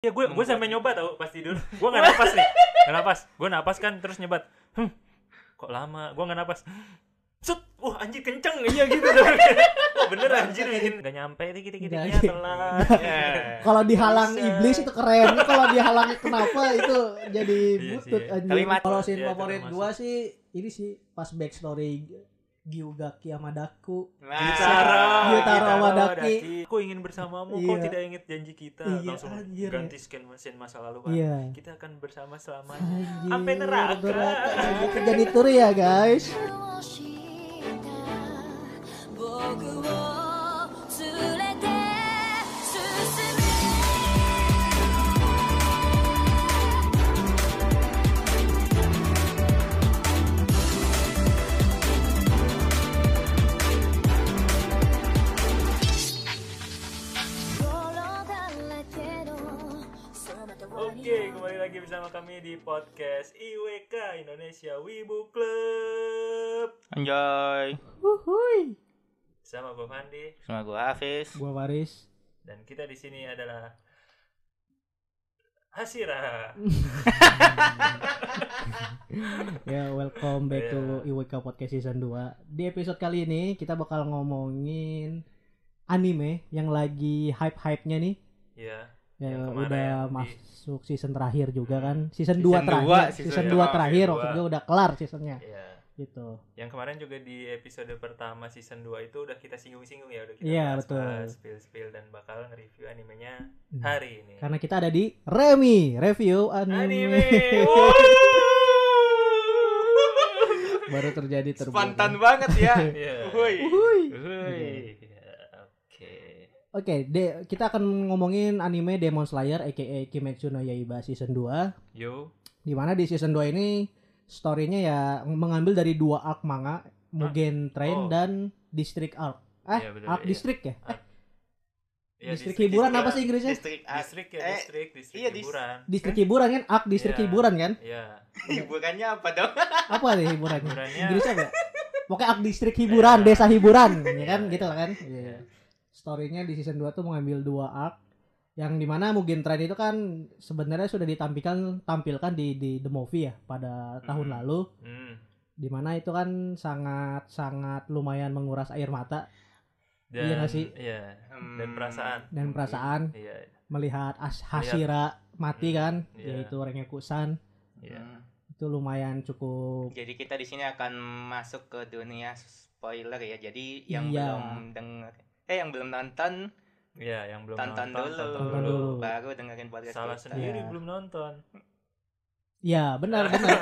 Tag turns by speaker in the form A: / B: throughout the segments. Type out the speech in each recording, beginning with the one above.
A: Iya, gue gue
B: Hmm.
A: sampai nyoba tau pas tidur. Gue nggak napas nih, nggak napas. Gue napas kan terus nyebat. Hmm, kok lama? Gue nggak napas. Set, wah anjir kenceng iya gitu. Wah bener anjir bikin nggak nyampe dikit dikit
B: Nggak,
A: ya
B: iya.
A: telat. Ya.
B: Kalau dihalang
A: Buset.
B: iblis itu keren. Kalau dihalang kenapa itu jadi
A: Iya
B: butut
A: sih.
B: anjing.
C: Kalimat.
B: Kalau scene
A: Iya,
B: favorit
A: termasuk.
B: gua sih ini sih pas backstory Gyugaki sama Daku.
A: Gitara,
B: Gitara
A: Gitara
B: Wadaki.
A: Aku ingin bersamamu, kau
B: Iya.
A: tidak ingat janji kita.
B: Iya,
A: Langsung
B: anjir, ya.
A: ganti scan mesin masa lalu kan.
B: Iya.
A: Kita akan bersama selamanya.
B: Anjing.
A: Sampai neraka.
B: Itu jadi tur ya guys.
D: をした僕を連れて進め転がるけどその手を
A: Oke, kembali lagi bersama kami di podcast IWK Indonesia Wibu Club.
C: Enjoy.
B: Wuhui.
A: Sama gue Fandi
C: Sama gue Hafiz.
B: Gua Waris.
A: dan kita di sini adalah Hasira.
B: Ya, welcome back to
A: Iya.
B: IWK Podcast Season 2. Di episode kali ini kita bakal ngomongin anime yang lagi hype-hype-nya nih.
A: Ya,
B: Ya,
A: Yang kemarin
B: udah
A: di-
B: masuk season terakhir juga
A: Hmm.
B: kan. Season
C: Season dua,
B: 2 terakhir.
C: season
B: season
A: dua,
B: 2
A: season
B: terakhir
A: dua.
B: maksudnya udah kelar seasonnya
A: ya.
B: gitu.
A: Yang kemarin juga di episode pertama season 2 itu udah kita singgung-singgung ya, udah kita
B: Iya, betul.
A: spill-spill dan bakal nge-review animenya
B: Hmm.
A: hari ini.
B: Karena kita ada di Remi Review
A: anime. Iya.
B: Anime.
A: Wow.
B: Baru terjadi terbaru.
C: Spontan banget ya.
A: Iya.
C: Woi.
B: Wuhui.
A: Wih, ya, Oke.
B: Oke, de- kita akan ngomongin anime Demon Slayer aka Kimetsu no Yaiba season 2
A: Yo.
B: di mana di season 2 ini story-nya ya mengambil dari dua arc manga Mugen Train
A: Oh.
B: dan District Arc. Eh,
A: Iya, bener,
B: Arc
A: iya.
B: District ya?
A: Ya,
B: Distrik hiburan apa sih Inggrisnya?
C: Distrik A.
A: Distrik ya,
C: Eh,
A: distrik, distrik
C: iya, dis-
A: hiburan.
B: Distrik hiburan kan? Arc Distrik
A: Iya.
B: hiburan kan?
A: Iya.
C: Hiburannya apa dong?
B: Apa nih hiburannya?
A: Hiburannya.
B: Inggris apa? ya? Pokoknya arc distrik hiburan, desa hiburan, ya kan gitu kan.
A: Iya.
B: Story-nya di season 2 tuh mengambil dua arc yang dimana Mugen Train itu kan sebenarnya sudah ditampilkan tampilkan di di the movie ya pada tahun
A: Mhm.
B: lalu
A: Hmm.
B: dimana itu kan sangat sangat lumayan menguras air mata
A: Dan,
B: Iya nggak sih?
A: Iya. Dan
C: Hmm.
A: perasaan.
B: dan perasaan
A: Iya.
B: melihat As- Hashira mati
A: Mhm.
B: kan
A: Iya.
B: yaitu Rengekusan
A: Iya.
C: Hmm.
B: itu lumayan cukup
C: Jadi kita di sini akan masuk ke dunia spoiler ya. Jadi yang
B: Iya.
C: belum dengar eh yang belum nonton
A: Iya, yang belum
C: Tonton
A: nonton
C: dulu.
A: tonton
B: Tonton
A: dulu.
B: dulu.
C: baru dengerin podcast
A: Salah
C: kita.
A: sendiri
B: Iya.
A: belum nonton.
B: ya benar benar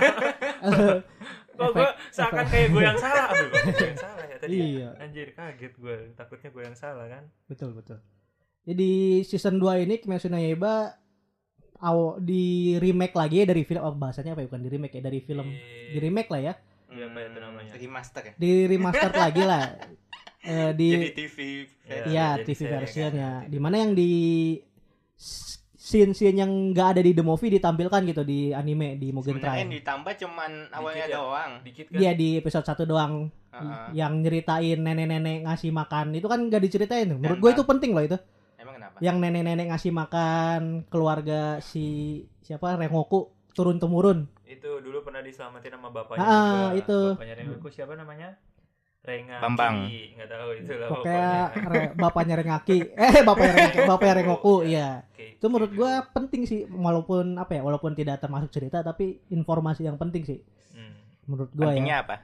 A: Kok gue seakan kayak gue yang salah. Aduh, gue yang salah ya tadi.
B: Iya.
A: Anjir, kaget gue. Takutnya gue yang salah kan.
B: Betul betul. Jadi season 2 ini Kimetsu no Yaiba aw, di remake lagi ya dari film oh, bahasanya apa ya bukan di remake ya dari film
A: Iya.
B: di remake lah ya
A: Iya, apa itu namanya?
C: Remaster Hmm. ya.
B: di remaster lagi lah Eh, di
C: Jadi TV
A: Iya.
B: ya
A: jadi
B: TV
A: seri
B: version
A: kan.
B: ya dimana yang di s- scene-scene yang nggak ada di the movie ditampilkan gitu di anime di Mugen
C: Sebenarnya yang
B: Train
C: ditambah cuman awalnya
A: Dikit ya.
C: doang.
A: Dikit kan.
B: dia di episode 1 doang
C: Heeh.
B: yang nyeritain nenek-nenek ngasih makan itu kan nggak diceritain menurut
C: Dan
B: gue
C: bang-
B: itu penting loh itu
C: Emang kenapa?
B: yang nenek-nenek ngasih makan keluarga si siapa Rengoku turun temurun
A: Itu dulu pernah diselamatin sama bapaknya.
B: Ah,
A: juga.
B: itu. Hmm.
A: Bapaknya Rengoku siapa namanya? Renga.
C: Bambang.
A: Enggak tahu itu lah
B: pokoknya re- bapaknya Rengaki eh bapaknya Rengaki bapaknya Rengoku ya
A: Kayak
B: itu menurut
A: gitu.
B: gua penting sih walaupun apa ya walaupun tidak termasuk cerita tapi informasi yang penting sih
A: Hmm.
B: menurut gua ya
C: Pentingnya apa?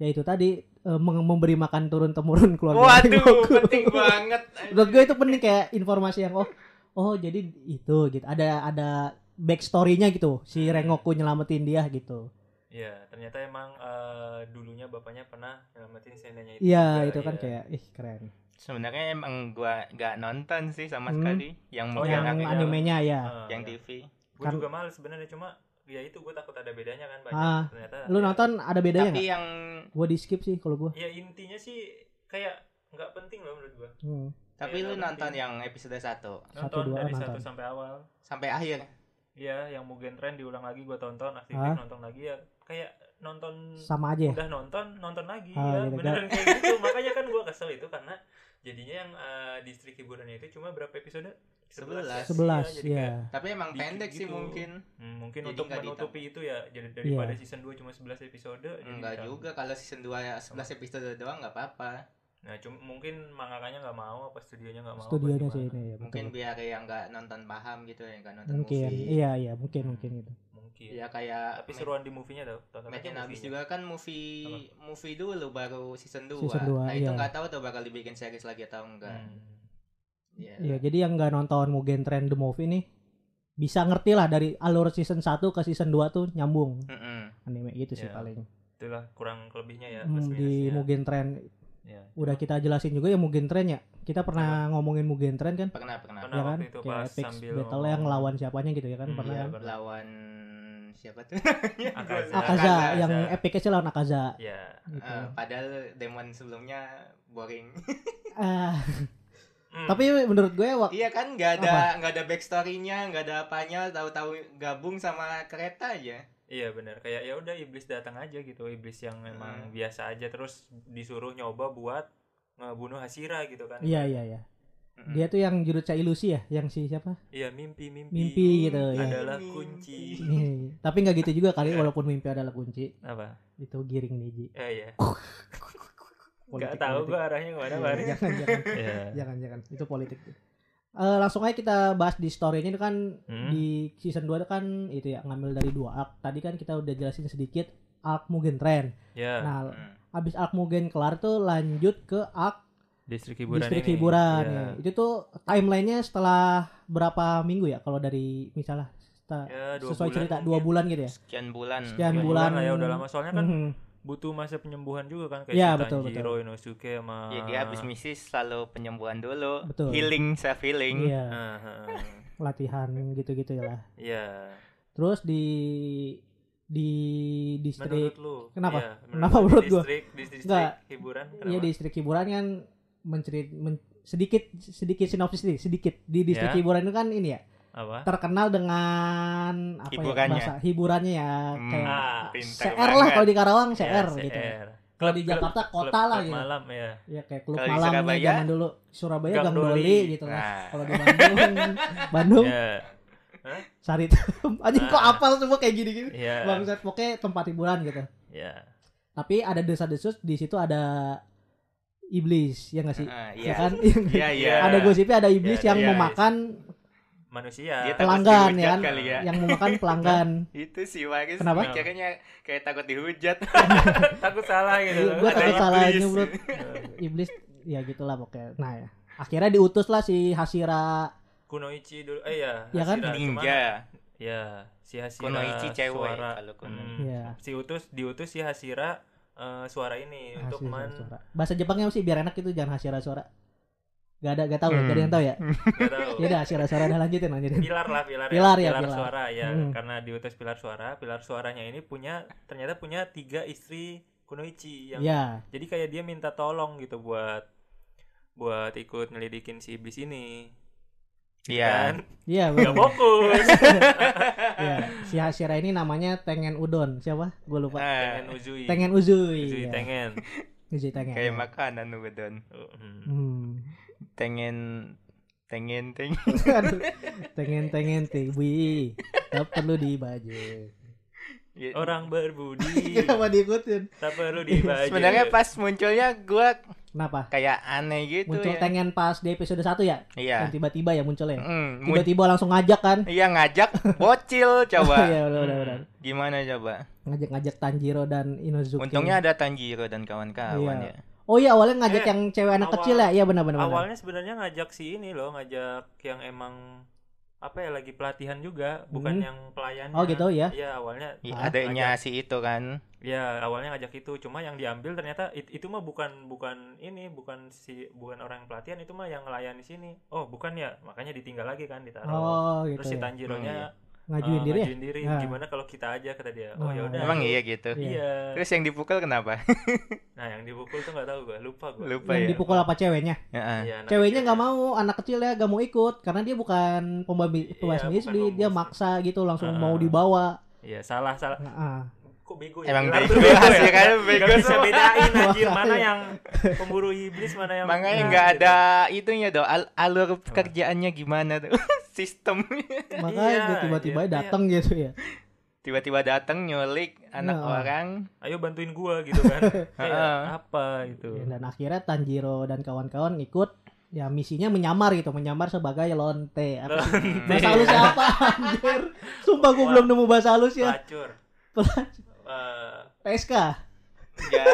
B: ya itu tadi eh, meng- memberi makan turun temurun keluarga
C: Waduh,
B: Rengoku.
C: penting banget.
B: menurut gua itu penting kayak informasi yang oh oh jadi itu gitu ada ada backstory-nya gitu si Rengoku nyelamatin dia gitu
A: Iya, ternyata emang eh, dulunya bapaknya pernah nyelamatin si neneknya itu.
B: Iya,
A: juga,
B: itu kan
A: iya.
B: kayak ih keren.
C: Sebenarnya emang gua gak nonton sih sama
B: Hmm.
C: sekali yang
A: Oh,
C: mungkin
B: yang
C: aku-
A: yang-
B: animenya ya.
A: Ah,
C: yang
A: iya.
C: TV.
A: Gue
B: Kan-
A: juga males sebenarnya cuma ya itu gue takut ada bedanya kan banyak.
B: Ah,
A: ternyata.
B: Lu
A: ya-
B: nonton ada bedanya
C: Tapi
B: nggak?
C: yang
A: Iya,
B: Gue di skip sih kalau gue.
A: Ya intinya sih kayak nggak penting loh menurut gue.
B: Hmm.
C: tapi
A: Iya,
C: lu
A: nonton
C: nonton
A: TV.
C: yang episode 1
A: Nonton
B: Satu, dua,
A: dari
B: nonton.
A: satu sampai awal.
C: sampai akhir.
A: Iya, yang Mugen Train diulang lagi gue tonton, aktifin
B: Ah.
A: nonton lagi ya kayak nonton
B: Sama aja ya.
A: udah nonton nonton lagi ya
B: Ah, gitu.
A: beneran kayak gitu makanya kan gue kesel itu karena jadinya yang eh, distrik hiburannya itu cuma berapa episode? ya?
C: Sebelas.
B: Sebelas
A: Iya, jadi kayak,
B: ya.
C: Tapi emang
A: Dikit
C: pendek sih
A: gitu.
C: mungkin.
A: hmm, mungkin
C: Jadi
A: untuk
C: nggak
A: menutupi itu ya jadi daripada
B: Iya.
A: season 2 cuma 11 episode jadi
C: Enggak
A: ditambah.
C: juga kalau season 2 ya 11 episode doang nggak apa-apa.
A: Nah, cuma mungkin mangakanya nggak mau apa studionya nggak mau. apa
B: Studionya
A: gimana.
B: sih ini ya. betul.
C: Mungkin biar yang nggak nonton paham gitu yang nggak nonton
B: mungkin
C: movie.
B: iya iya mungkin mungkin gitu.
A: Mungkin.
C: Ya kayak
A: Tapi seruan di movie-nya tuh. Tonton aja
C: Makin habis
A: movie-nya.
C: juga kan movie movie dulu baru season 2.
B: Season dua,
C: nah itu
B: iya.
C: nggak tahu tuh bakal dibikin series lagi atau enggak.
A: Hmm.
C: Iya.
B: Iya, jadi yang nggak nonton Mugen Train the Movie nih bisa ngerti lah dari alur season 1 ke season 2 tuh nyambung
C: Mm-mm.
B: anime gitu sih
A: Iya,
B: paling.
A: Itulah kurang kelebihnya ya
B: Hmm,
A: plus minusnya.
B: di Mugen Train
A: Ya.
B: udah kita jelasin juga ya Mugen Train ya. Kita pernah ngomongin Mugen Train kan?
C: Pernah pernah.
A: Pernah
B: Ya kan?
A: waktu itu
B: Kayak
A: pas
B: Apex
A: sambil
B: battle yang lawan siapanya gitu ya kan
A: Hmm,
B: pernah
A: iya,
B: kan?
A: pernah.
C: Lawan siapa tuh?
A: Akaza.
B: Akaza
A: Akaza.
B: yang epicnya sih lawan Akaza
A: Ya.
B: gitu.
C: Eh, padahal demon sebelumnya boring.
B: Ah,
A: Hmm.
B: tapi menurut gue waktu
C: iya kan nggak ada nggak ada backstorynya nggak ada apanya tahu-tahu gabung sama kereta aja.
A: Iya benar kayak ya udah iblis datang aja gitu iblis yang memang
C: Hmm.
A: biasa aja terus disuruh nyoba buat ngebunuh Hasira gitu kan
B: Iya iya iya.
A: Hmm.
C: Mm-mm.
B: Dia tuh yang jurusnya ilusi ya, yang si siapa?
A: iya mimpi mimpi,
B: Mimpi gitu ya.
A: adalah
C: Mimpi.
A: kunci
B: Nih, Tapi nggak gitu juga kali walaupun mimpi adalah kunci.
A: apa
B: Itu giring Niji.
A: eh ya nggak
B: Politik,
A: tahu
B: politik.
A: gua arahnya kemana
B: Iya,
A: baru
B: jangan jangan
A: Iya.
B: jangan jangan itu politik. Eh, langsung aja kita bahas di story-nya itu kan
A: Hmm.
B: di season 2 itu kan itu ya ngambil dari dua arc. Tadi kan kita udah jelasin sedikit arc Mugen Train.
A: ya
B: Nah,
C: Mm.
B: abis arc Mugen kelar tuh lanjut ke arc
A: distrik hiburan
B: distrik
A: ini
B: hiburan.
C: Iya.
A: ya.
B: ya. Itu tuh timelinenya setelah berapa minggu ya kalau dari misalnya seta-
A: Ya, dua
B: sesuai
A: bulan
B: cerita
A: mungkin.
B: dua bulan gitu ya.
C: Sekian bulan.
B: Sekian
A: Dua
B: bulan.
A: lah ya udah lama soalnya kan
B: Mhm.
A: butuh masa penyembuhan juga kan kayak
B: Iya,
A: si
B: betul, betul.
A: Tanjiro Inosuke sama
C: Ya dia habis misi selalu penyembuhan dulu.
B: Betul.
C: Healing, self healing.
B: Iya,
A: Ah, ah, ah.
B: latihan gitu-gitu ya lah.
A: Iya.
B: Terus di di distrik
A: menurut lu
B: Kenapa?
A: Iya,
B: Kenapa
A: lu,
B: menurut gua?
A: distrik distrik
B: Nggak.
A: hiburan
B: Iya di distrik hiburan kan mencerit men- sedikit sedikit sinopsis nih sedikit di distrik
A: Ya.
B: hiburan itu kan ini ya
A: apa
B: terkenal dengan apa
C: Hiburannya.
B: ya bahasa hiburannya ya
C: Hmm,
B: kayak
A: Ah,
C: pintar
B: CR lah
C: banget.
B: kalau di Karawang
A: Ya,
B: CR gitu. ya.
A: CR.
B: Kalau di Jakarta kota lah
A: klub
B: gitu.
A: malam ya
B: Ya kayak klub
C: Kalau di
B: malam
C: Surabaya,
B: zaman dulu Surabaya
A: Gang
B: Gang, Doli.
A: Doli.
B: gitu lah.
C: Nah.
B: Kalau di Bandung Bandung
A: ya
B: Sari Anjing kok
A: Ah.
B: apal semua kayak gini-gini.
A: ya
B: Bangsat pokoknya tempat hiburan gitu.
A: ya
B: Tapi ada desa-desus di situ ada iblis ya nggak sih?
C: Ah,
B: Ya
C: Iya.
B: kan?
C: Iya, iya.
B: ada gosipnya ada iblis
A: Iya,
B: yang
C: iya, iya.
B: memakan
A: manusia
C: Dia Iya, takut
B: pelanggan ya
C: dihujat
B: kan?
C: kali ya.
B: Yang memakan pelanggan.
C: Itu sih Waris
B: Kenapa?
C: mikirnya kayak takut dihujat.
A: Nah, takut salah gitu
B: Iya, gua
A: Ada
B: takut
A: iblis.
B: salah nyemprot. iblis ya gitulah pokoknya. Nah, ya. akhirnya diutuslah si Hasira
A: kunoichi dulu eh ya
B: Ya kan?
A: Hashira. Cuman,
C: Ninja.
A: ya si Hasira
C: Kunoichi cewek
A: suara
C: kalau kuno.
A: Hmm,
B: Iya.
A: si utus diutus si Hasira eh, suara ini untuk
B: Hasira
A: men
B: suara. Bahasa Jepangnya apa sih biar enak itu jangan Hasira suara. Gak ada gak tahu ya,
C: Hmm.
B: gak ada yang tahu ya.
A: nggak tahu.
B: Ya udah Hasira suara udah lanjutin lanjutin.
A: pilar lah pilar
B: Pilar ya,
A: pilar
B: pilar.
A: suara ya
B: Hmm.
A: karena diutus pilar suara pilar suaranya ini punya ternyata punya tiga istri kunoichi yang
B: Ya,
A: jadi kayak dia minta tolong gitu buat buat ikut nyelidikin si iblis ini
C: Iya.
A: kan
B: iya
A: nggak
B: betul.
A: fokus
B: Iya. Si Hasira ini namanya Tengen Udon. Siapa? Gue lupa.
A: tengen
C: Ah,
A: uzui
B: Tengen Uzui.
A: uzui
B: Iya.
A: Kan, tengen
B: Uzui Tengen.
C: kayak makanan Udon.
A: Hmm.
B: Hmm.
C: Tengen tengen tengen.
B: Aduh, tengen tengen tiwi tak perlu dibaju
C: Ya,
A: Iya. orang berbudi
B: kenapa diikutin
A: tak perlu
B: Iya.
A: dibajak
C: Sebenarnya pas munculnya gua
B: kenapa
C: kayak aneh gitu
B: muncul
C: ya.
B: tengen pas di episode 1 ya
C: Iya.
B: yang tiba-tiba ya munculnya
C: Mm, mun-
B: tiba-tiba langsung ngajak kan
C: Iya ngajak bocil coba.
B: ya udah udah
A: Hmm.
B: udah
C: Gimana coba?
B: ngajak-ngajak Tanjiro dan Inozuki
C: Untungnya ada Tanjiro dan kawan-kawan
B: Iya.
C: ya.
B: oh iya awalnya ngajak
A: Eh,
B: yang cewek anak
A: awal-
B: kecil ya iya benar benar benar.
A: awalnya sebenarnya ngajak si ini loh ngajak yang emang apa ya lagi pelatihan juga bukan
B: Hmm.
A: yang pelayan
B: Oh, gitu, ya?
A: iya awalnya
C: Iya,
B: Ah,
C: Adanya si itu kan.
A: ya awalnya ngajak itu cuma yang diambil ternyata it- itu mah bukan bukan ini bukan si bukan orang yang pelatihan itu mah yang ngelayani sini oh bukan ya makanya ditinggal lagi kan ditaruh
B: oh gitu
A: terus "Oh, si
B: ya.
A: Tanjiro
C: Hmm,
A: nya
C: iya.
B: ngajuin diri ya
A: diri
B: Nah.
A: gimana kalau kita aja kata dia oh
B: Nah.
A: ya udah
C: Emang iya gitu.
A: iya
B: Iya.
C: Terus yang dipukul kenapa?
A: nah yang dipukul tuh nggak tahu gua lupa gua
C: Lupa
B: yang
C: ya.
B: dipukul apa ceweknya
C: Heeh.
A: Iya, anak
B: ceweknya
A: kecil.
B: nggak mau anak kecil ya nggak mau ikut karena dia bukan
A: Iya,
B: pembabi pembahas
A: bukan
B: sendiri
A: pembisnis.
B: dia maksa gitu langsung
A: Ah.
B: mau dibawa
A: iya salah salah
B: Nah, ah.
A: kok bego ya.
C: Emang
A: Gelar
C: bego
A: tuh
C: hasil
A: ya.
C: kan bego
A: Gak bisa
C: semua.
A: bedain anjir
B: Makanya.
A: mana yang pemburu iblis mana yang
C: Makanya
B: Iya.
A: Nah,
C: nggak
A: gitu.
C: ada itunya dong al- alur pekerjaannya gimana tuh sistemnya.
B: Makanya
A: Iya,
B: dia tiba-tiba
A: iya,
B: datang gitu ya.
C: Tiba-tiba datang nyulik anak
B: Nah.
C: orang.
A: ayo bantuin gua gitu kan Kayak,
C: Heeh.
A: apa gitu
B: Dan akhirnya Tanjiro dan kawan-kawan ngikut ya misinya menyamar gitu, menyamar sebagai lonte. Apa sih?
C: Hmm.
B: Bahasa halusnya apa anjir? Sumpah gue
A: Wah.
B: belum nemu bahasa ya. halusnya.
A: pelacur Eh,
B: PSK.
C: Ya.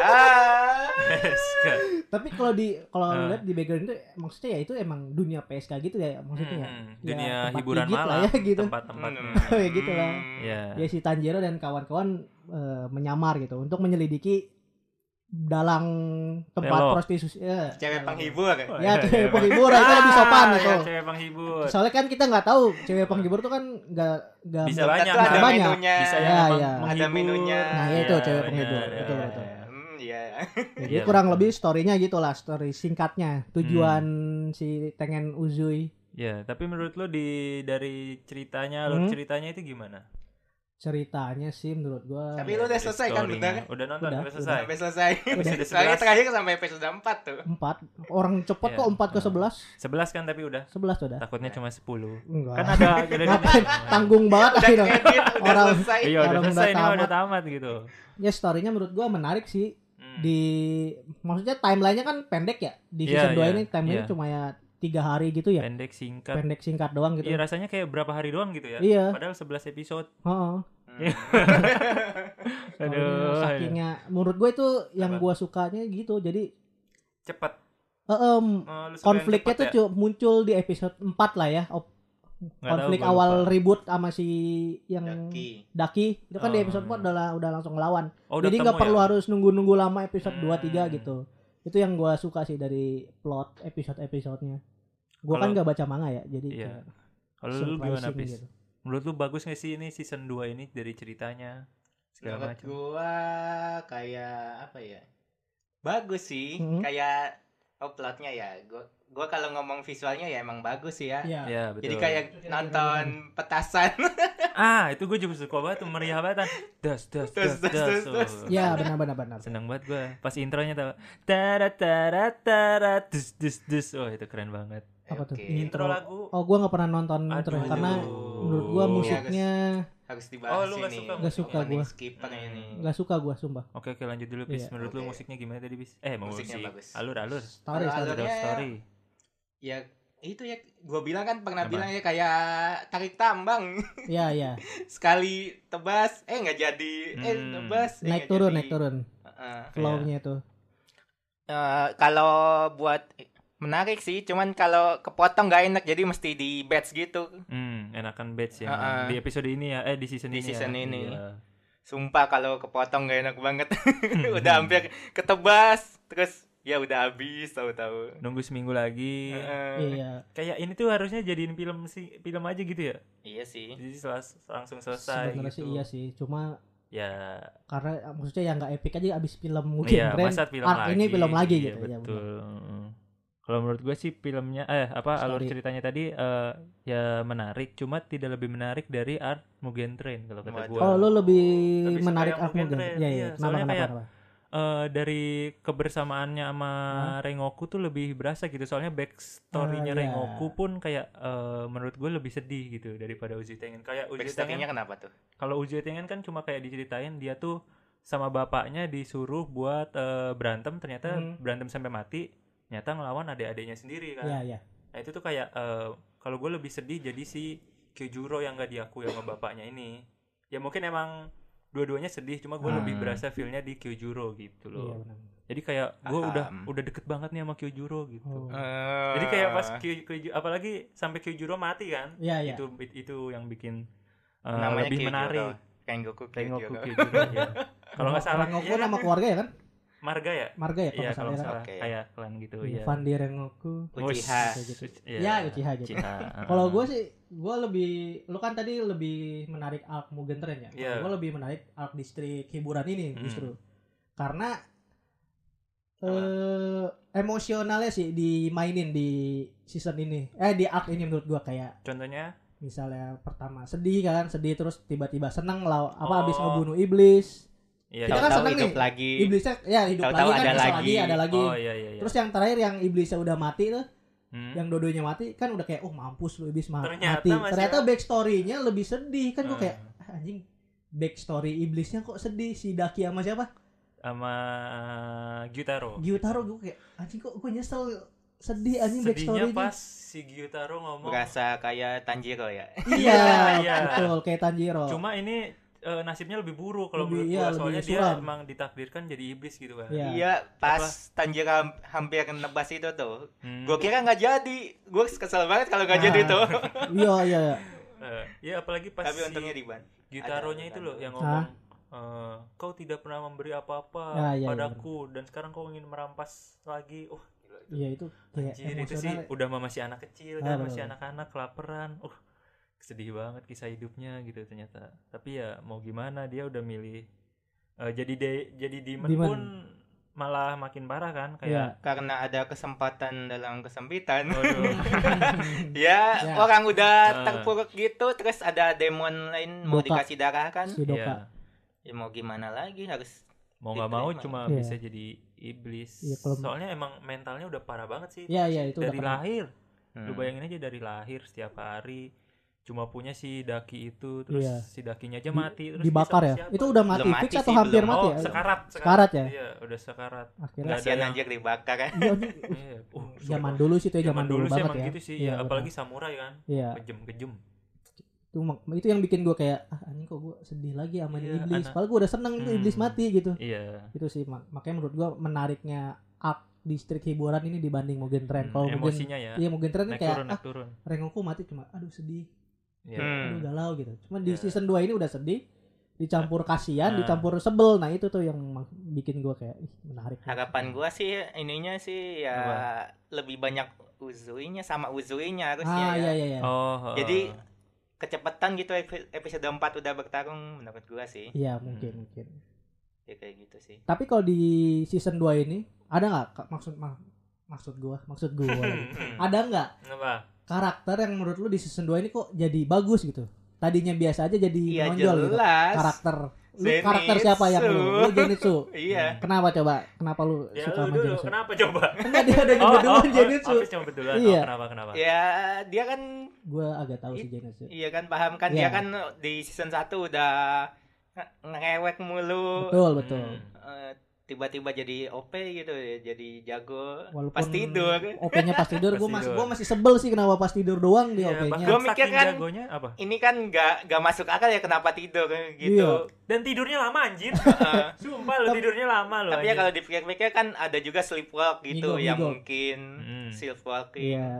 A: PSK.
B: Tapi kalau di kalau
A: Eh.
B: lihat di background itu maksudnya ya itu emang dunia PSK gitu ya maksudnya. ya.
A: Hmm,
B: Ya,
A: dunia
B: tempat
A: hiburan
B: gigit lah
A: malam
B: ya gitu.
A: tempat-tempatnya
C: Hmm.
B: Ya gitu lah.
A: ya
B: ya si Tanjiro dan kawan-kawan eh, menyamar gitu untuk menyelidiki dalang tempat
A: Belok.
B: prostitusi ya,
C: Cewek
B: dalang-
C: penghibur.
B: ya
A: Iya.
B: cewek penghibur itu lebih sopan
A: Ah,
B: itu
A: ya, cewek penghibur
B: soalnya kan kita nggak tahu cewek penghibur tuh kan nggak nggak
A: bisa
C: Tetap
A: banyak
C: tuh ada
A: Mbak.
B: banyak.
C: menunya.
A: bisa
B: Ya,
A: yang
B: ya.
A: emang
C: Ada
A: menghibur.
C: menunya.
B: Nah, itu
A: Iya,
B: cewek
A: benar,
B: penghibur. Betul,
A: iya.
B: betul.
C: Hmm, Iya.
B: jadi
A: Iya,
B: ya kurang
A: betul.
B: lebih storynya gitulah story singkatnya tujuan
A: Hmm.
B: si tengen uzui
A: ya tapi menurut lo di dari ceritanya alur
B: Hmm?
A: ceritanya itu gimana
B: ceritanya sih menurut gua
C: Tapi lu udah
A: Dari
C: selesai kan,
A: story-nya.
C: bener?
A: udah nonton
B: Udah,
A: udah selesai
C: Sampai selesai.
A: Episode
C: Soalnya
A: 11.
C: terakhir sampai episode 4 tuh.
B: empat orang cepet
A: Iya.
B: kok empat ke
A: Hmm.
B: sebelas
A: 11 kan tapi udah
B: sebelas udah
C: Iya.
A: takutnya cuma 10
B: enggak
A: kan ada ada
B: Ngapain? tanggung banget
C: Udah
B: akhirnya
A: gitu.
C: kredit, udah
B: Iya. Orang-
C: selesai.
A: iya udah
B: Orang udah
A: selesai nih
B: tamat.
A: udah tamat gitu
B: ya storynya menurut gua menarik sih
A: Hmm.
B: di maksudnya timelinenya kan pendek ya di
A: Iya,
B: season 2
A: iya,
B: ini timelinenya
A: iya.
B: cuma ya tiga hari gitu ya
A: pendek singkat
B: pendek singkat doang gitu
A: Iya rasanya kayak berapa hari doang gitu ya
B: Iya.
A: padahal 11 episode
B: Heeh.
C: Hmm,
B: Soalnya
A: aduh
B: sakingnya menurut gue itu yang
A: Apa?
B: gua sukanya gitu jadi
A: cepat Oh,
B: eh, em, konfliknya
A: ya?
B: tuh cu- muncul di episode 4 lah ya Op- konflik awal ribut sama si yang Daki,
C: Daki.
B: itu kan di
A: Oh,
B: episode 4
A: iya.
B: udah udah langsung lawan
A: Oh, ya?
B: jadi nggak perlu harus nunggu-nunggu lama episode 2 3
A: Hmm.
B: gitu itu yang gua suka sih dari plot episode-episodenya gua kan
A: Kalau-
B: nggak baca manga ya jadi
A: Iya.
B: kayak
A: kalau lu gimana
B: surprising
A: pis
B: gitu.
A: menurut lu bagus gak sih ini season 2 ini dari ceritanya segala
C: Menurut
A: macam
C: gua kayak apa ya? Bagus sih,
B: Mhm.
C: kayak oh plotnya ya. Gua gua kalau ngomong visualnya ya emang bagus sih ya.
B: Iya.
A: ya betul
C: Jadi kayak nonton petasan.
A: ah itu gue juga suka banget tuh, meriah banget ah. das das das
C: Das, das,
A: das
C: das,
A: oh.
C: das.
B: Ya benar benar benar.
A: seneng banget gue pas intronya tau tara tara tara dus dus dus oh itu keren banget
B: Apa
C: Eh,
B: tuh?
C: Oke.
B: Ini.
A: intro lagu
B: Oh gua nggak pernah nonton
A: Aduh.
B: terus karena menurut gua
A: Iya,
B: musiknya
C: Harus dibahas
A: Oh, lu nggak
C: ini.
A: suka Hmm.
B: Nggak suka
C: Opening
B: gua.
C: skipper ini.
B: nggak suka gua sumpah.
A: oke oke lanjut dulu bis
B: Iya.
A: menurut lu
C: Oke.
A: musiknya gimana tadi bis eh mau musik
C: Musiknya bagus.
A: alur alur
B: Story story.
C: Alur-alurnya
A: alur story
C: Ya itu ya gua bilang kan pernah
A: Apa?
C: bilang ya kayak tarik tambang
B: Iya iya.
C: sekali tebas eh nggak jadi eh
A: Hmm.
C: tebas eh,
B: Naik
C: nggak
B: turun
C: jadi.
B: naik turun
C: Heeh.
B: flow-nya tuh.
C: Eh, kalau buat menarik sih, cuman kalau kepotong nggak enak, jadi mesti di batch gitu.
A: hmm enakan batch ya
C: Ah, ah.
A: di episode ini ya eh di season
C: Di
A: ini
C: season
A: ya.
C: ini.
A: Iya.
C: Sumpah kalau kepotong nggak enak banget. udah
A: Hmm.
C: hampir ketebas, terus ya udah habis tahu-tahu. Eh,
A: nunggu seminggu lagi
C: Heeh.
B: Iya.
A: kayak ini tuh harusnya jadiin film si film aja gitu ya
C: Iya sih.
A: jadi selas- langsung selesai
B: Sebenarnya sih
A: gitu
B: iya sih. Cuma
A: ya
B: karena maksudnya yang nggak epic aja abis film mungkin
A: iya
B: Ren.
A: masa film
B: arc
A: lagi
B: ini film lagi
A: Iya,
B: gitu ya,
A: betul Mm. kalau menurut gue sih filmnya eh apa alur
B: Story.
A: ceritanya tadi eh, ya menarik cuma tidak lebih menarik dari art Mugen Train kalau kata
C: Waduh.
A: gue
B: Oh lu lebih
A: Lebih suka
B: menarik
A: yang
B: aku
A: Mugen
B: mungkin.
A: Train,
B: Iya
A: iya.
B: iya. Kenapa
A: Soalnya
B: kenapa?
A: kayak-
B: kenapa?
A: Eh, dari kebersamaannya sama Rengoku tuh lebih berasa gitu soalnya backstorynya
B: Ah, iya.
A: Rengoku pun kayak eh, menurut gue lebih sedih gitu daripada Uzi Tengen kayak Uzi Tengen
C: Backstory-nya kenapa tuh?
A: kalau Uji Tengen kan cuma kayak diceritain dia tuh sama bapaknya disuruh buat eh, berantem ternyata
B: Hmm.
A: berantem sampai mati nyata ngelawan adik-adiknya sendiri kan
B: Iya iya.
A: nah itu tuh kayak eh, kalau gue lebih sedih jadi si Kyujuro yang gak diakui sama bapaknya ini ya mungkin emang dua-duanya sedih cuma gue lebih
C: Hmm.
A: berasa feelnya di Kyujuro gitu
B: Iya
A: loh
B: benar.
A: jadi kayak gue
C: Paham.
A: udah udah deket banget nih sama Kyujuro gitu
B: Oh.
C: Eh,
A: jadi kayak pas
C: Ah.
A: Kyu- Kyuju- apalagi sampai Kyujuro mati kan
B: Iya iya.
A: itu itu yang bikin eh,
C: Namanya
A: lebih
C: Kyujuro.
A: menarik
C: Rengoku
A: Tengok
C: Kyujuro.
A: Kuki juga ya. Kalau nggak salah,
B: Rengoku
A: iya kan?
B: nama keluarga ya kan?
A: marga ya.
B: Marga ya
A: Iya kalau
B: ya
A: nggak
B: kan?
A: salah,
C: Oke.
A: kayak klan gitu
B: Iya,
A: ya.
B: Fandi Rengoku.
C: Uchiha.
B: Kayak gitu.
A: Iya,
B: Ya, Uchiha gitu. Kalau gue sih, gue lebih, lu kan tadi lebih menarik Arc Mugen Train ya.
A: Iya.
B: Gue lebih menarik Arc distrik hiburan ini
A: Hmm.
B: justru, karena
C: Apa?
B: eh emosionalnya sih dimainin di season ini, eh di arc ini menurut gue kayak
A: contohnya
B: misalnya pertama sedih kan, sedih terus tiba-tiba seneng lah, apa abis
A: Oh.
B: ngebunuh iblis,
A: Iya.
B: Kita kan
C: Tahu-tahu
B: seneng
C: hidup
B: nih.
C: lagi.
B: Iblisnya ya hidup
C: Tahu-tahu
B: lagi kan
C: ada
B: bisa
C: lagi.
B: ada lagi.
A: Oh iya iya iya.
B: Terus yang terakhir yang iblisnya udah mati tuh,
A: Hmm.
B: yang dodonya mati kan udah kayak oh mampus lu iblis ma-
A: Ternyata
B: mati.
A: masih-
B: Ternyata backstory-nya lebih sedih kan gue
A: Ah.
B: kayak "Ah, anjing backstory iblisnya kok sedih si Daki sama siapa?
A: sama eh, Gyutaro.
B: Gyutaro gue kayak anjing kok gue nyesel sedih anjing
A: Sedihnya
B: backstory
A: pas si Gyutaro ngomong.
C: Berasa kayak Tanjiro ya.
B: Iya,
A: Iya.
B: betul kayak Tanjiro.
A: Cuma ini eh, nasibnya lebih buruk kalau
B: Lebih-
A: menurut
B: iya,
A: gua
B: lebih
A: soalnya dia
B: suram.
A: emang ditakdirkan jadi iblis gitu kan.
B: Iya.
C: Iya, pas Tanjiro ham- hampir nebas itu tuh.
A: Hmm.
C: Gue kira nggak jadi. Gue kesel banget kalau nggak
B: Ah.
C: jadi tuh.
B: Iya, iya. iya.
A: Eh, ya apalagi pas
C: Tapi
A: si
C: untungnya diban.
A: Gitaronya itu
C: Ada-
A: loh
C: ada.
A: yang ngomong eh, kau tidak pernah memberi apa-apa
B: Ah, iya, iya,
A: padaku dan sekarang kau ingin merampas lagi. Oh,
B: Iya itu kayak
A: anjir itu sih
B: emosional. ya.
A: udah mah masih anak kecil
B: Ah,
A: kan,
B: bener,
A: masih
B: bener.
A: anak-anak kelaparan. Uh, sedih banget kisah hidupnya gitu ternyata. Tapi ya mau gimana dia udah milih eh, jadi de- jadi demon,
B: Demon.
A: pun malah makin parah kan
B: Iya.
A: kayak
C: Karena ada kesempatan dalam kesempitan.
A: Waduh.
C: ya,
B: Ya.
C: orang
A: Ah.
C: udah terpuruk gitu terus ada demon lain mau
B: Buka.
C: dikasih darah kan.
B: Si Doka.
A: Iya.
C: Ya, mau gimana lagi harus
A: mau nggak mau
C: Diterima.
A: cuma
B: Iya.
A: bisa jadi iblis.
B: Iya, kalau-
A: Soalnya emang mentalnya udah parah banget sih.
B: Iya, iya itu udah
A: dari
B: pernah.
A: lahir.
C: Hmm.
A: Lu bayangin aja dari lahir setiap hari cuma punya si Daki itu terus
B: Iya.
A: si Dakinya aja
B: Di-
A: mati terus
B: dibakar
A: dia
B: ya.
A: sama siapa?
B: Itu udah mati
C: Belum mati
B: fix atau
C: sih,
B: hampir
C: belum.
B: mati
A: oh,
B: ya?
A: sekarat,
B: Sekarat ya?
A: Iya, udah sekarat.
B: Akhirnya
A: Nggak ada
C: Kasihan
A: yang-
C: anjir dibakar kan.
B: iya, anjing,
A: Iya, uh,
B: zaman
A: sumpah.
B: dulu sih itu
A: Zaman
B: ya, zaman dulu,
A: dulu sih
B: banget
A: emang
B: ya.
A: gitu sih ya,
B: benar.
A: apalagi samurai kan.
B: Iya.
A: Kejem-kejem.
B: Itu mak- itu yang bikin gue kayak ah anjing kok gue sedih lagi sama ini
A: Iya,
B: iblis.
A: anak-
B: Padahal gue udah seneng itu iblis
A: Hmm.
B: mati gitu.
A: Iya.
B: Itu sih mak- makanya menurut gue menariknya arc distrik hiburan ini dibanding Mugen Train. Kalau
A: Hmm,
B: Mugen
A: emosinya ya.
B: Iya Mugen Train kan
A: Naik
B: kayak
A: turun, ya.
B: ah
A: naik turun.
B: Rengoku mati cuma aduh sedih,
A: Iya.
C: Hmm.
B: aduh galau gitu. Cuman di
A: Iya.
B: season 2 ini udah sedih dicampur kasihan,
A: Ah.
B: dicampur sebel. Nah, itu tuh yang mak- bikin gue kayak ih menarik.
C: Harapan gua sih ininya sih ya
A: Apa?
C: lebih banyak uzuinya sama uzuinya harusnya
B: Ah
C: ya.
B: iya iya iya.
A: Oh.
C: Jadi-
A: eh,
C: Kecepatan gitu epi- episode 4 udah bertarung menurut gua sih.
B: Iya mungkin mungkin.
C: Ya kayak gitu sih.
B: Tapi kalau di season 2 ini ada nggak Kak, maksud ma- maksud gua maksud gua lagi. ada nggak
A: apa?
B: karakter yang menurut lu di season 2 ini kok jadi bagus gitu? Tadinya biasa aja jadi
C: Iya
B: menonjol gitu.
C: jelas.
B: Karakter lu
C: Zenitsu.
B: karakter siapa yang lu? Lu Zenitsu.
C: Iya.
B: Kenapa coba? Kenapa lu
A: Ya lu
B: suka sama
A: dulu,
B: Zenitsu?
A: kenapa coba?
B: Enggak dia ada
A: Oh, oh,
B: kebetulan
A: oh,
B: Zenitsu.
A: Hafiz cuma betulan. Oh,
B: Iya.
A: kenapa kenapa?
C: Ya dia kan
B: Gua agak tahu sih Zenitsu.
C: iya kan paham kan
B: Iya.
C: dia kan di season 1 udah nge- ngerewek mulu.
B: Betul, betul.
A: Hmm.
C: Eh, tiba-tiba jadi OP gitu ya, jadi jago.
B: Walaupun
C: Pas tidur.
B: OP-nya pas tidur gua
A: Pas
B: masih
A: tidur.
B: gua masih sebel sih kenapa pas tidur doang di
A: Iya,
B: OP-nya.
A: bahkan
C: Gua mikir
A: saking
C: kan-
A: jagonya apa?
C: Ini kan nggak nggak masuk akal ya kenapa tidur gitu.
A: Dan tidurnya lama anjir.
B: Iya.
C: Eh,
A: Sumpah lu tidurnya lama lu.
C: Tapi ya kalau dipikir-pikir kan ada juga sleepwalk gitu
B: Migok,
C: yang
B: migok.
C: mungkin
A: Hmm.
C: sleepwalking.
B: Iya,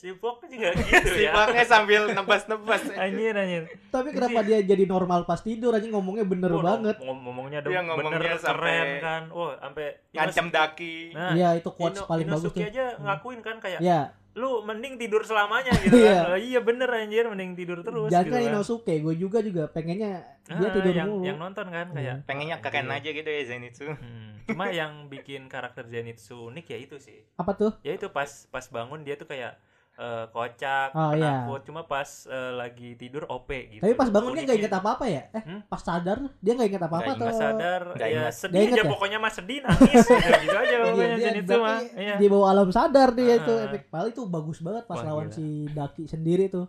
A: Sipok juga gitu ya.
C: Sleepwalknya sambil nebas-nebas.
A: Anjir anjir.
B: Tapi kenapa dia jadi normal pas tidur aja ngomongnya bener
A: Wah,
B: banget.
A: ngom- ngomongnya dong
C: Iya, ngomongnya
A: bener
C: sampai-
A: keren kan. Wah, sampai
C: Ngancam daki.
A: Nah,
B: Iya itu quotes
A: Ino-
B: paling bagus
A: Inosuke
B: tuh.
A: aja ngakuin kan kayak
B: Iya,
A: lu mending tidur selamanya gitu kan.
B: Iya.
A: Oh, iya bener anjir mending tidur terus
B: jangan
A: gitu
B: kan
A: kan.
B: Inosuke, gue juga juga pengennya dia
A: Ah,
B: tidur
A: yang,
B: mulu.
A: yang nonton kan kayak
C: Pengennya
A: "Ah,
C: keren
A: anjir."
C: aja gitu ya
B: Iya.
C: Zenitsu.
A: Hmm, Cuma yang bikin karakter Zenitsu unik ya itu sih.
B: Apa tuh?
A: Ya itu pas pas bangun dia tuh kayak eh, kocak,
B: Oh, iya.
A: penakut. Cuma pas eh, lagi tidur OP gitu.
B: Tapi pas bangun dia nggak inget
A: Uniknya.
B: apa-apa ya? Eh,
A: Hmm?
B: pas sadar dia nggak inget apa-apa
C: Nggak
B: atau?
A: nggak sadar
C: Nggak
A: ya
C: ingat.
A: sedih
B: Nggak ingat
A: aja
B: ya?
A: pokoknya mas sedih nangis gitu, gitu aja
B: Iya,
A: pokoknya
B: dia,
A: Zenitsu
B: berarti
A: mah iya
B: di bawah alam sadar dia itu
A: Ah.
B: epic Paling itu bagus banget pas
A: Wah,
B: lawan
A: gila.
B: si Daki sendiri tuh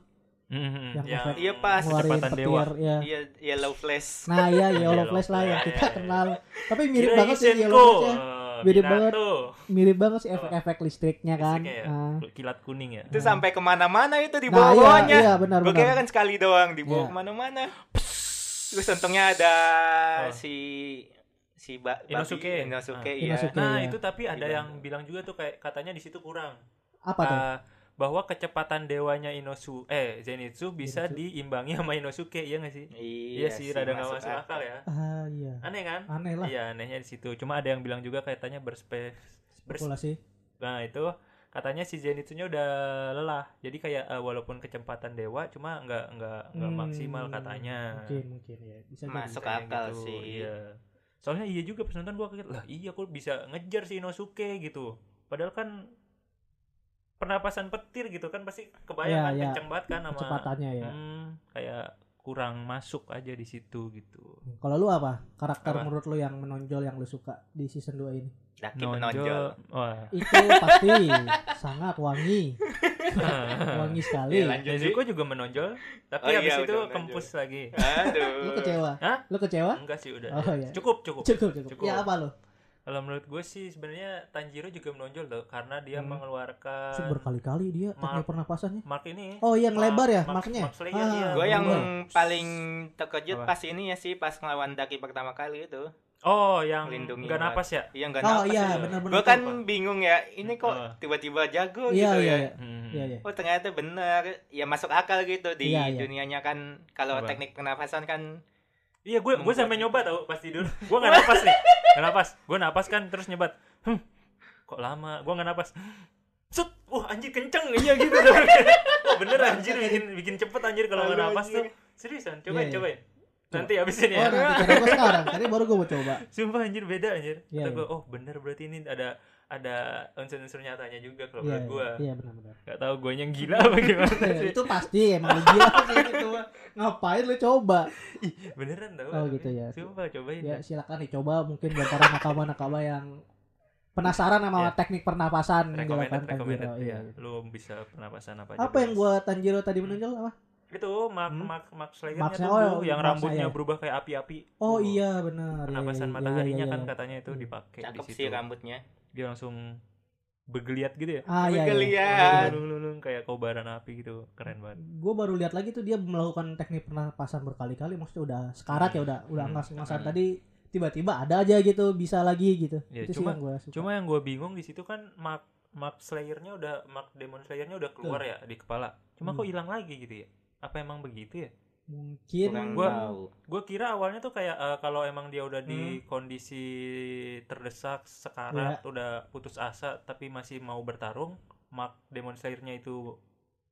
A: Mhm,
B: Yang efek-
C: Iya, pas.
B: ngeluarin
A: kecepatan dewa
B: petir ya.
C: Iya yellow flash.
B: Nah iya Yellow
A: Yellow
B: Flash lah yang
A: Flash.
B: kita kenal Tapi mirip
A: Kirain
B: banget sih
A: Senko,
B: Yellow Flash ya
A: eh,
B: Mirip
A: Minato,
B: banget. Mirip banget sih efek-efek listriknya kan
A: listriknya ya,
B: Ah.
A: kilat kuning ya
C: Itu sampai kemana-mana itu di
B: Nah, iya,
C: bawah-bawahnya.
B: iya benar
C: Gue kira
B: benar.
C: kan sekali doang dibawa
B: Iya.
C: kemana-mana. Terus untungnya ada
A: Oh.
C: si si ba babi-
A: Inosuke.
C: Inosuke,
A: Ah.
C: iya.
B: Inosuke.
A: nah
B: Iya.
A: itu tapi ada
C: Gimana?
A: yang bilang juga tuh kayak katanya di situ kurang
B: Apa tuh?
A: Eh, bahwa kecepatan dewanya Inosu eh Zenitsu bisa
B: Zenitsu.
A: diimbangi sama Inosuke iya nggak sih
C: Iya,
A: iya, sih rada nggak masuk akal ya
B: Ah iya.
A: aneh kan
B: Aneh lah
A: iya anehnya di situ cuma ada yang bilang juga katanya berspe bers-
B: spekulasi.
A: Nah itu katanya si Zenitsunya udah lelah. Jadi kayak eh, walaupun kecepatan dewa cuma nggak nggak nggak
B: Hmm,
A: maksimal katanya.
B: Mungkin mungkin ya bisa jadi.
C: Masuk
A: Katanya
C: akal
A: gitu,
C: sih.
A: Iya. Soalnya iya juga pas nonton gua kaget lah iya kok bisa ngejar si Inosuke gitu. Padahal kan pernapasan petir gitu kan pasti kebayang
B: Iya,
A: kan
B: iya.
A: kenceng banget kan sama
B: Kecepatannya ya.
A: Hmm, kayak kurang masuk aja di situ gitu.
B: Hmm. Kalau lu apa? Karakter
A: Apa?
B: menurut lu yang menonjol yang lu suka di season 2 ini?
C: Laki menonjol.
A: Wah.
B: Itu pasti sangat wangi.
A: Ah.
B: wangi sekali.
C: Iya, lanjut. Jadi-
A: Nezuko juga menonjol, tapi
C: Oh,
A: habis
C: iya,
A: itu
C: udah menonjol.
A: kempus lagi.
C: Aduh.
B: lu kecewa?
A: Hah?
B: Lu kecewa?
A: Enggak sih udah.
B: Oh, iya.
A: Cukup, cukup.
B: Cukup, cukup.
A: Cukup.
B: Ya apa lu?
A: Kalau menurut gue sih sebenarnya Tanjiro juga menonjol loh karena dia
B: Hmm.
A: mengeluarkan
B: Se- Berkali-kali dia
A: Mark.
B: teknik pernapasannya.
A: mark ini.
B: Oh, yang
A: Mark-
B: lebar ya,
A: mark-
B: marknya?
A: mark Slayer,
B: Ah,
A: iya.
C: Gue yang
B: Gua.
C: paling terkejut
A: Apa?
C: pas ini ya sih pas ngelawan Daki pertama kali itu.
A: Oh, yang
C: Melindungi
A: enggak
C: orang.
A: napas ya?
C: Iya enggak
B: Oh
C: napas
B: iya,
A: ya?
B: benar-benar.
C: Gue kan bingung ya, ini
A: Ah.
C: kok tiba-tiba jago
B: Iya,
C: gitu
B: iya,
C: ya.
B: iya.
A: Hmm.
B: Iya, iya.
C: Oh ternyata bener, ya masuk akal gitu di
B: Iya, iya.
C: dunianya kan kalau
A: Apa?
C: teknik pernafasan kan
A: Iya, gue gue
C: Membuat
A: sampai
C: itu.
A: nyoba tau pas tidur. Gue nggak napas nih, nggak napas. Gue napas kan terus nyebat. Hmm, kok lama? Gue nggak napas. Set, wah anjir kenceng iya gitu. Wah, Bener anjir bikin bikin cepet anjir kalau nggak
C: Aduh,
A: napas
C: anjir.
A: tuh. Seriusan, cobain
B: Iya, iya.
A: cobain. Nanti abis ini
B: Oh,
A: ya.
B: nanti coba sekarang. Tadi baru gue mau coba.
A: Sumpah anjir beda anjir.
B: Iya,
A: Kata
B: iya.
A: gue, oh bener berarti ini ada ada unsur-unsur nyatanya juga kalau
B: Iya,
A: menurut
B: iya.
A: gue.
B: iya benar-benar.
A: Gak tau gue yang gila apa gimana
B: Iya,
A: sih.
B: itu pasti emang lu gila sih gitu. Ngapain lu coba?
A: Beneran tau.
B: Oh, gitu ya.
A: Sumpah cobain.
B: Ya silakan dicoba mungkin buat para nakama-nakama yang penasaran sama
A: Iya.
B: teknik pernapasan gitu
A: Recommended,
B: silakan
A: recommended.
B: Tanjiro. Iya.
A: Iya. Lu bisa pernapasan apa aja.
B: Apa yang
A: bebas.
B: gua Tanjiro tadi menonjol apa?
A: itu Gitu, Mark
B: Hmm?
A: Mark Mark Slayer-nya
B: Marknya,
A: tuh
B: oh,
A: Bu, yang
B: Marknya
A: rambutnya
B: ya.
A: berubah kayak api-api.
B: Oh
A: Bu.
B: iya benar. Iya,
A: Penapasan
B: iya, iya,
A: mataharinya
B: iya,
A: kan
B: iya.
A: katanya itu
B: Iya.
A: dipakai di
C: cakep
A: situ.
C: sih rambutnya.
A: Dia langsung bergeliat gitu ya.
B: Ah iya. iya.
C: Eh. Bergeliat.
A: Lulung-lulung kayak kobaran api gitu. Keren banget.
B: Gue baru lihat lagi tuh dia melakukan teknik pernapasan berkali-kali maksudnya udah sekarat ya udah udah
A: Hmm.
B: ngas-ngasan
C: Hmm.
B: tadi tiba-tiba ada aja gitu bisa lagi gitu.
A: Ya,
B: itu
A: cuma-
B: sih yang gua suka.
A: Cuma yang gue bingung di situ kan Mark Mark Slayer-nya udah Mark Demon Slayer-nya udah keluar ya di kepala. Cuma kok
B: Hmm.
A: hilang lagi gitu ya? Apa emang begitu ya?
B: mungkin
C: Kurang
A: Gua-
C: tahu.
A: Gue kira awalnya tuh kayak eh, kalau emang dia udah di
B: Hmm.
A: kondisi terdesak sekarat, udah putus asa tapi masih mau bertarung, Mark Demon Slayer-nya itu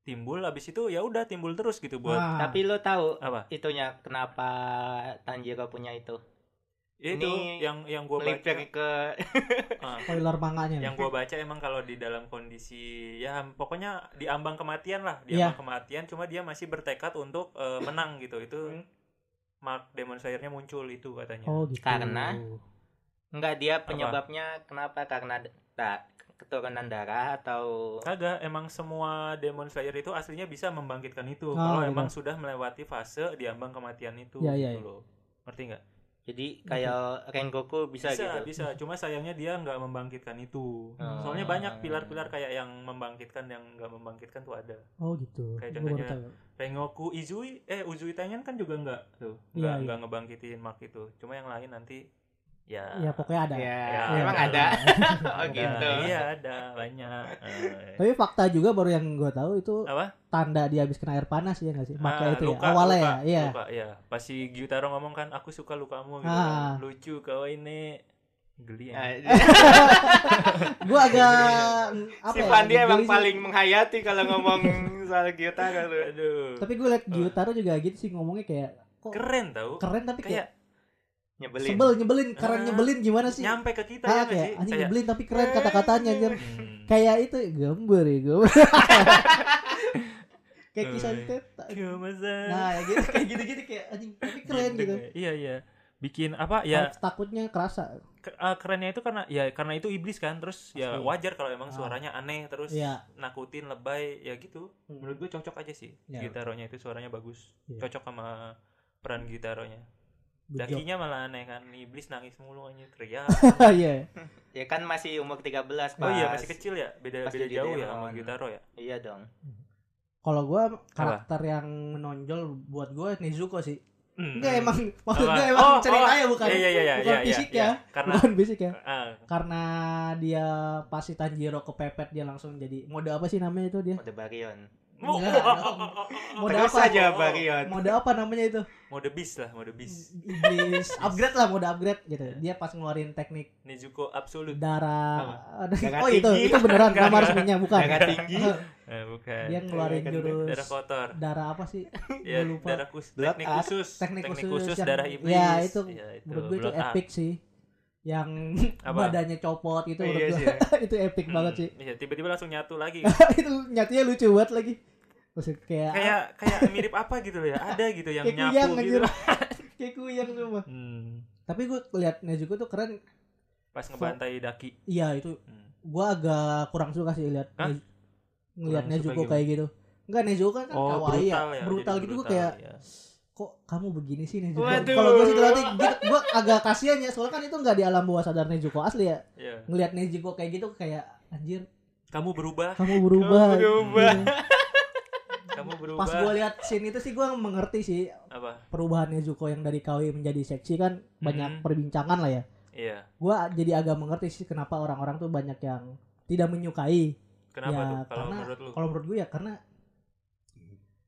A: timbul habis itu ya udah timbul terus gitu buat
B: Ah,
C: Tapi lo tahu
A: apa?
C: itunya kenapa Tanjiro punya itu?
A: Ya itu
C: Ini
A: yang yang gue baca
C: Melipir ke
A: Ah,
B: spoiler manganya nih.
A: yang gue baca emang kalau di dalam kondisi ya pokoknya di ambang kematian lah di
B: Iya.
A: ambang kematian cuma dia masih bertekad untuk eh, menang gitu itu
C: Hmm.
A: Mark Demon Slayer-nya muncul itu katanya
B: Oh gitu.
C: Karena? enggak dia penyebabnya kenapa? Karena da- keturunan darah atau
A: Kagak, emang semua Demon Slayer itu aslinya bisa membangkitkan itu.
B: Ah,
A: kalau
B: iya.
A: emang sudah melewati fase di ambang kematian itu
B: Iya, iya,
A: gitu
B: iya.
A: loh. Ngerti nggak?
C: jadi kayak Rengoku bisa,
A: Bisa, bisa,
C: gitu.
A: Cuma sayangnya dia nggak membangkitkan itu.
C: Hmm.
A: Soalnya banyak pilar-pilar kayak yang membangkitkan yang nggak membangkitkan tuh ada.
B: Oh gitu.
A: Kayak
B: Gua baru
A: contohnya-
B: tahu.
A: Rengoku Izui, eh Uzui Tengen kan juga nggak tuh, nggak
B: Iya, iya.
A: nggak ngebangkitin Mark itu. Cuma yang lain nanti ya.
B: Ya pokoknya ada.
C: Ya,
A: Ya,
C: emang
A: ada.
C: ada. oh
A: ada.
C: gitu.
A: Iya ada banyak. Eh,
B: Tapi fakta juga baru yang gue tahu itu
A: Apa?
B: tanda dia habis kena air panas ya nggak sih? Maka
A: Ah,
B: itu ya. Awalnya
A: luka,
B: ya. Iya.
A: Luka, iya. Pas si Gyutaro ngomong kan, aku suka lukamu gitu.
B: Ah.
A: kan. Lucu kau ini. Geli ya.
C: Eh,
B: Gue
A: Iya,
B: agak apa
C: si
B: ya,
C: Pandi
B: geli
C: emang
B: sih.
C: paling menghayati kalau ngomong soal Gita kalau
A: Aduh.
B: Tapi gue liat Gyutaro juga gitu sih ngomongnya kayak kok
A: Ah. keren tau.
B: keren ya? tapi kayak,
A: Kayak
C: nyebelin.
B: sebel nyebelin keren
A: Ah,
B: nyebelin gimana sih?
A: nyampe ke kita ya
B: Ah,
A: nggak sih?
B: kayak anjing
A: Kayak, "Eh,
B: nyebelin tapi keren kata-katanya anjir.
A: hmm,
B: Kayak itu gambar ya gambar. kayak kisah
A: Eh,
B: teta.
A: Kumasan.
B: Nah, ya gitu kayak gitu-gitu kayak anjing tapi keren gitu.
A: ya. Iya, iya. Bikin apa ya
B: Harus takutnya kerasa.
A: ke- ah, kerennya itu karena ya karena itu iblis kan terus ya
B: Pasti.
A: wajar kalau emang
B: Ah.
A: suaranya aneh terus
B: Iya.
A: nakutin lebay ya gitu menurut gue cocok aja sih
B: Ya.
A: gitaronya itu suaranya bagus
B: Iya.
A: cocok sama peran gitaronya
B: Bujok.
A: Dakinya malah aneh kan, iblis nangis mulu aja teriak.
B: Iya.
C: Ya kan masih umur 13
A: Oh iya
C: pas-
A: masih kecil ya, beda
C: pas
A: beda
C: jadi
A: jauh ya
C: demon.
A: sama Gitaro ya.
C: Iya dong.
B: Kalau gua karakter yang menonjol buat gua Nezuko sih.
A: Hmm.
B: Enggak emang maksud
A: Apa?
B: gua emang
A: Oh,
B: ceritanya
A: oh.
B: bukan
A: Iya iya iya iya,
B: bukan
A: iya,
B: fisik
A: iya.
B: ya.
A: Karena
B: bukan basic ya.
A: ah,
B: Karena dia pas si Tanjiro kepepet dia langsung jadi mode apa sih namanya itu dia?
C: Mode Barion.
B: Enggak, dong. Mode
C: Terus
B: apa? Oh,
C: aja Barion.
B: Mode apa namanya itu?
A: mode bis lah, mode bis.
B: Iblis upgrade lah mode upgrade gitu. Dia pas ngeluarin teknik
A: Nezuko absolut.
B: darah
C: Darah
B: Oh itu
C: tinggi.
B: itu beneran
A: Enggak,
B: nama
A: enggak.
B: resminya bukan.
C: Darah tinggi.
A: Eh, bukan.
B: Dia ngeluarin
C: Darah
B: jurus
A: darah kotor.
B: darah apa sih?
A: Ya,
B: Gua lupa.
A: darah kus,
C: Blood
A: teknik
C: art.
A: khusus,
B: Teknik khusus yang-
A: darah
B: ya,
A: iblis.
B: itu
A: Ya,
B: menurut gue itu
A: blood art.
B: epic sih yang
A: Apa?
B: badannya copot itu menurut
C: Iya
B: gue
C: sih.
B: itu epic banget
A: Hmm,
B: sih
A: Iya, tiba-tiba langsung nyatu lagi.
B: itu nyatanya lucu banget lagi Maksud kayak
A: kayak kayak mirip apa gitu loh ya ada gitu yang
B: kayak kuyang
A: nyapu
B: anjir.
A: gitu
B: kayak kuyang semua.
A: Hmm,
B: Tapi gue lihat Nezuko tuh keren.
A: pas ngebantai daki
B: Iya itu
A: Hmm.
B: gua agak kurang suka sih lihat
A: Hah?
B: Ne- ngelihat
A: Kurang suka
B: Nezuko
A: gimana?
B: kayak gitu. Enggak Nezuko kan
A: oh
B: kawaii
A: brutal ya
B: ya. Brutal
A: jadi
B: gitu gua kayak
A: ya.
B: kok kamu begini sih Nezuko.
C: Waduh.
B: Kalau gua sih terlatih gitu gua agak kasihan ya soalnya kan itu enggak di alam bawah sadar Nezuko asli ya.
A: Iya.
B: Ngelihat Nezuko kayak gitu kayak anjir
A: kamu berubah
B: kamu berubah.
C: Kamu Oh, berubah.
B: Iya.
A: kamu berubah
B: Pas gua lihat scene itu sih gua mengerti sih
A: apa
B: perubahan Nezuko yang dari kawi menjadi seksi kan banyak
A: Mhm.
B: perbincangan lah ya.
A: iya
B: Gua jadi agak mengerti sih kenapa orang-orang tuh banyak yang tidak menyukai
A: kenapa
B: ya,
A: tuh kalau
B: karena-
A: menurut lu
B: kalau menurut gue ya karena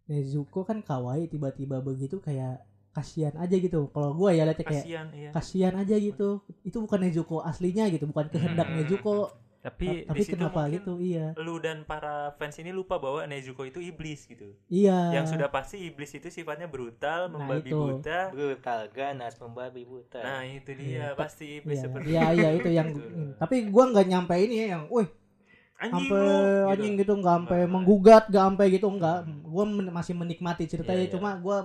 B: Nezuko kan kawaii tiba-tiba begitu kayak kasihan aja gitu kalau gue ya liatnya kayak
A: kasihan iya
B: kasihan aja gitu itu bukan Nezuko aslinya gitu bukan kehendak
A: Hmm.
B: Nezuko
A: tapi, di
B: tapi
A: situ
B: kenapa
A: mungkin
B: gitu iya
A: lu dan para fans ini lupa bahwa Nezuko itu iblis gitu
B: iya
A: yang sudah pasti iblis itu sifatnya brutal
B: Nah,
A: membabi
B: itu.
A: buta
C: brutal ganas membabi buta
A: nah itu dia
B: Iya.
A: pasti
B: iya
A: iblis seperti
B: iya, iya, itu yang
A: Gitu.
B: tapi gue nggak nyampe ini ya yang wih
A: anjing
B: sampai
A: lu," gitu.
B: anjing gitu nggak sampai
A: Nah.
B: menggugat nggak sampai gitu nggak gue masih menikmati
A: Iya,
B: ceritanya
A: iya.
B: cuma gue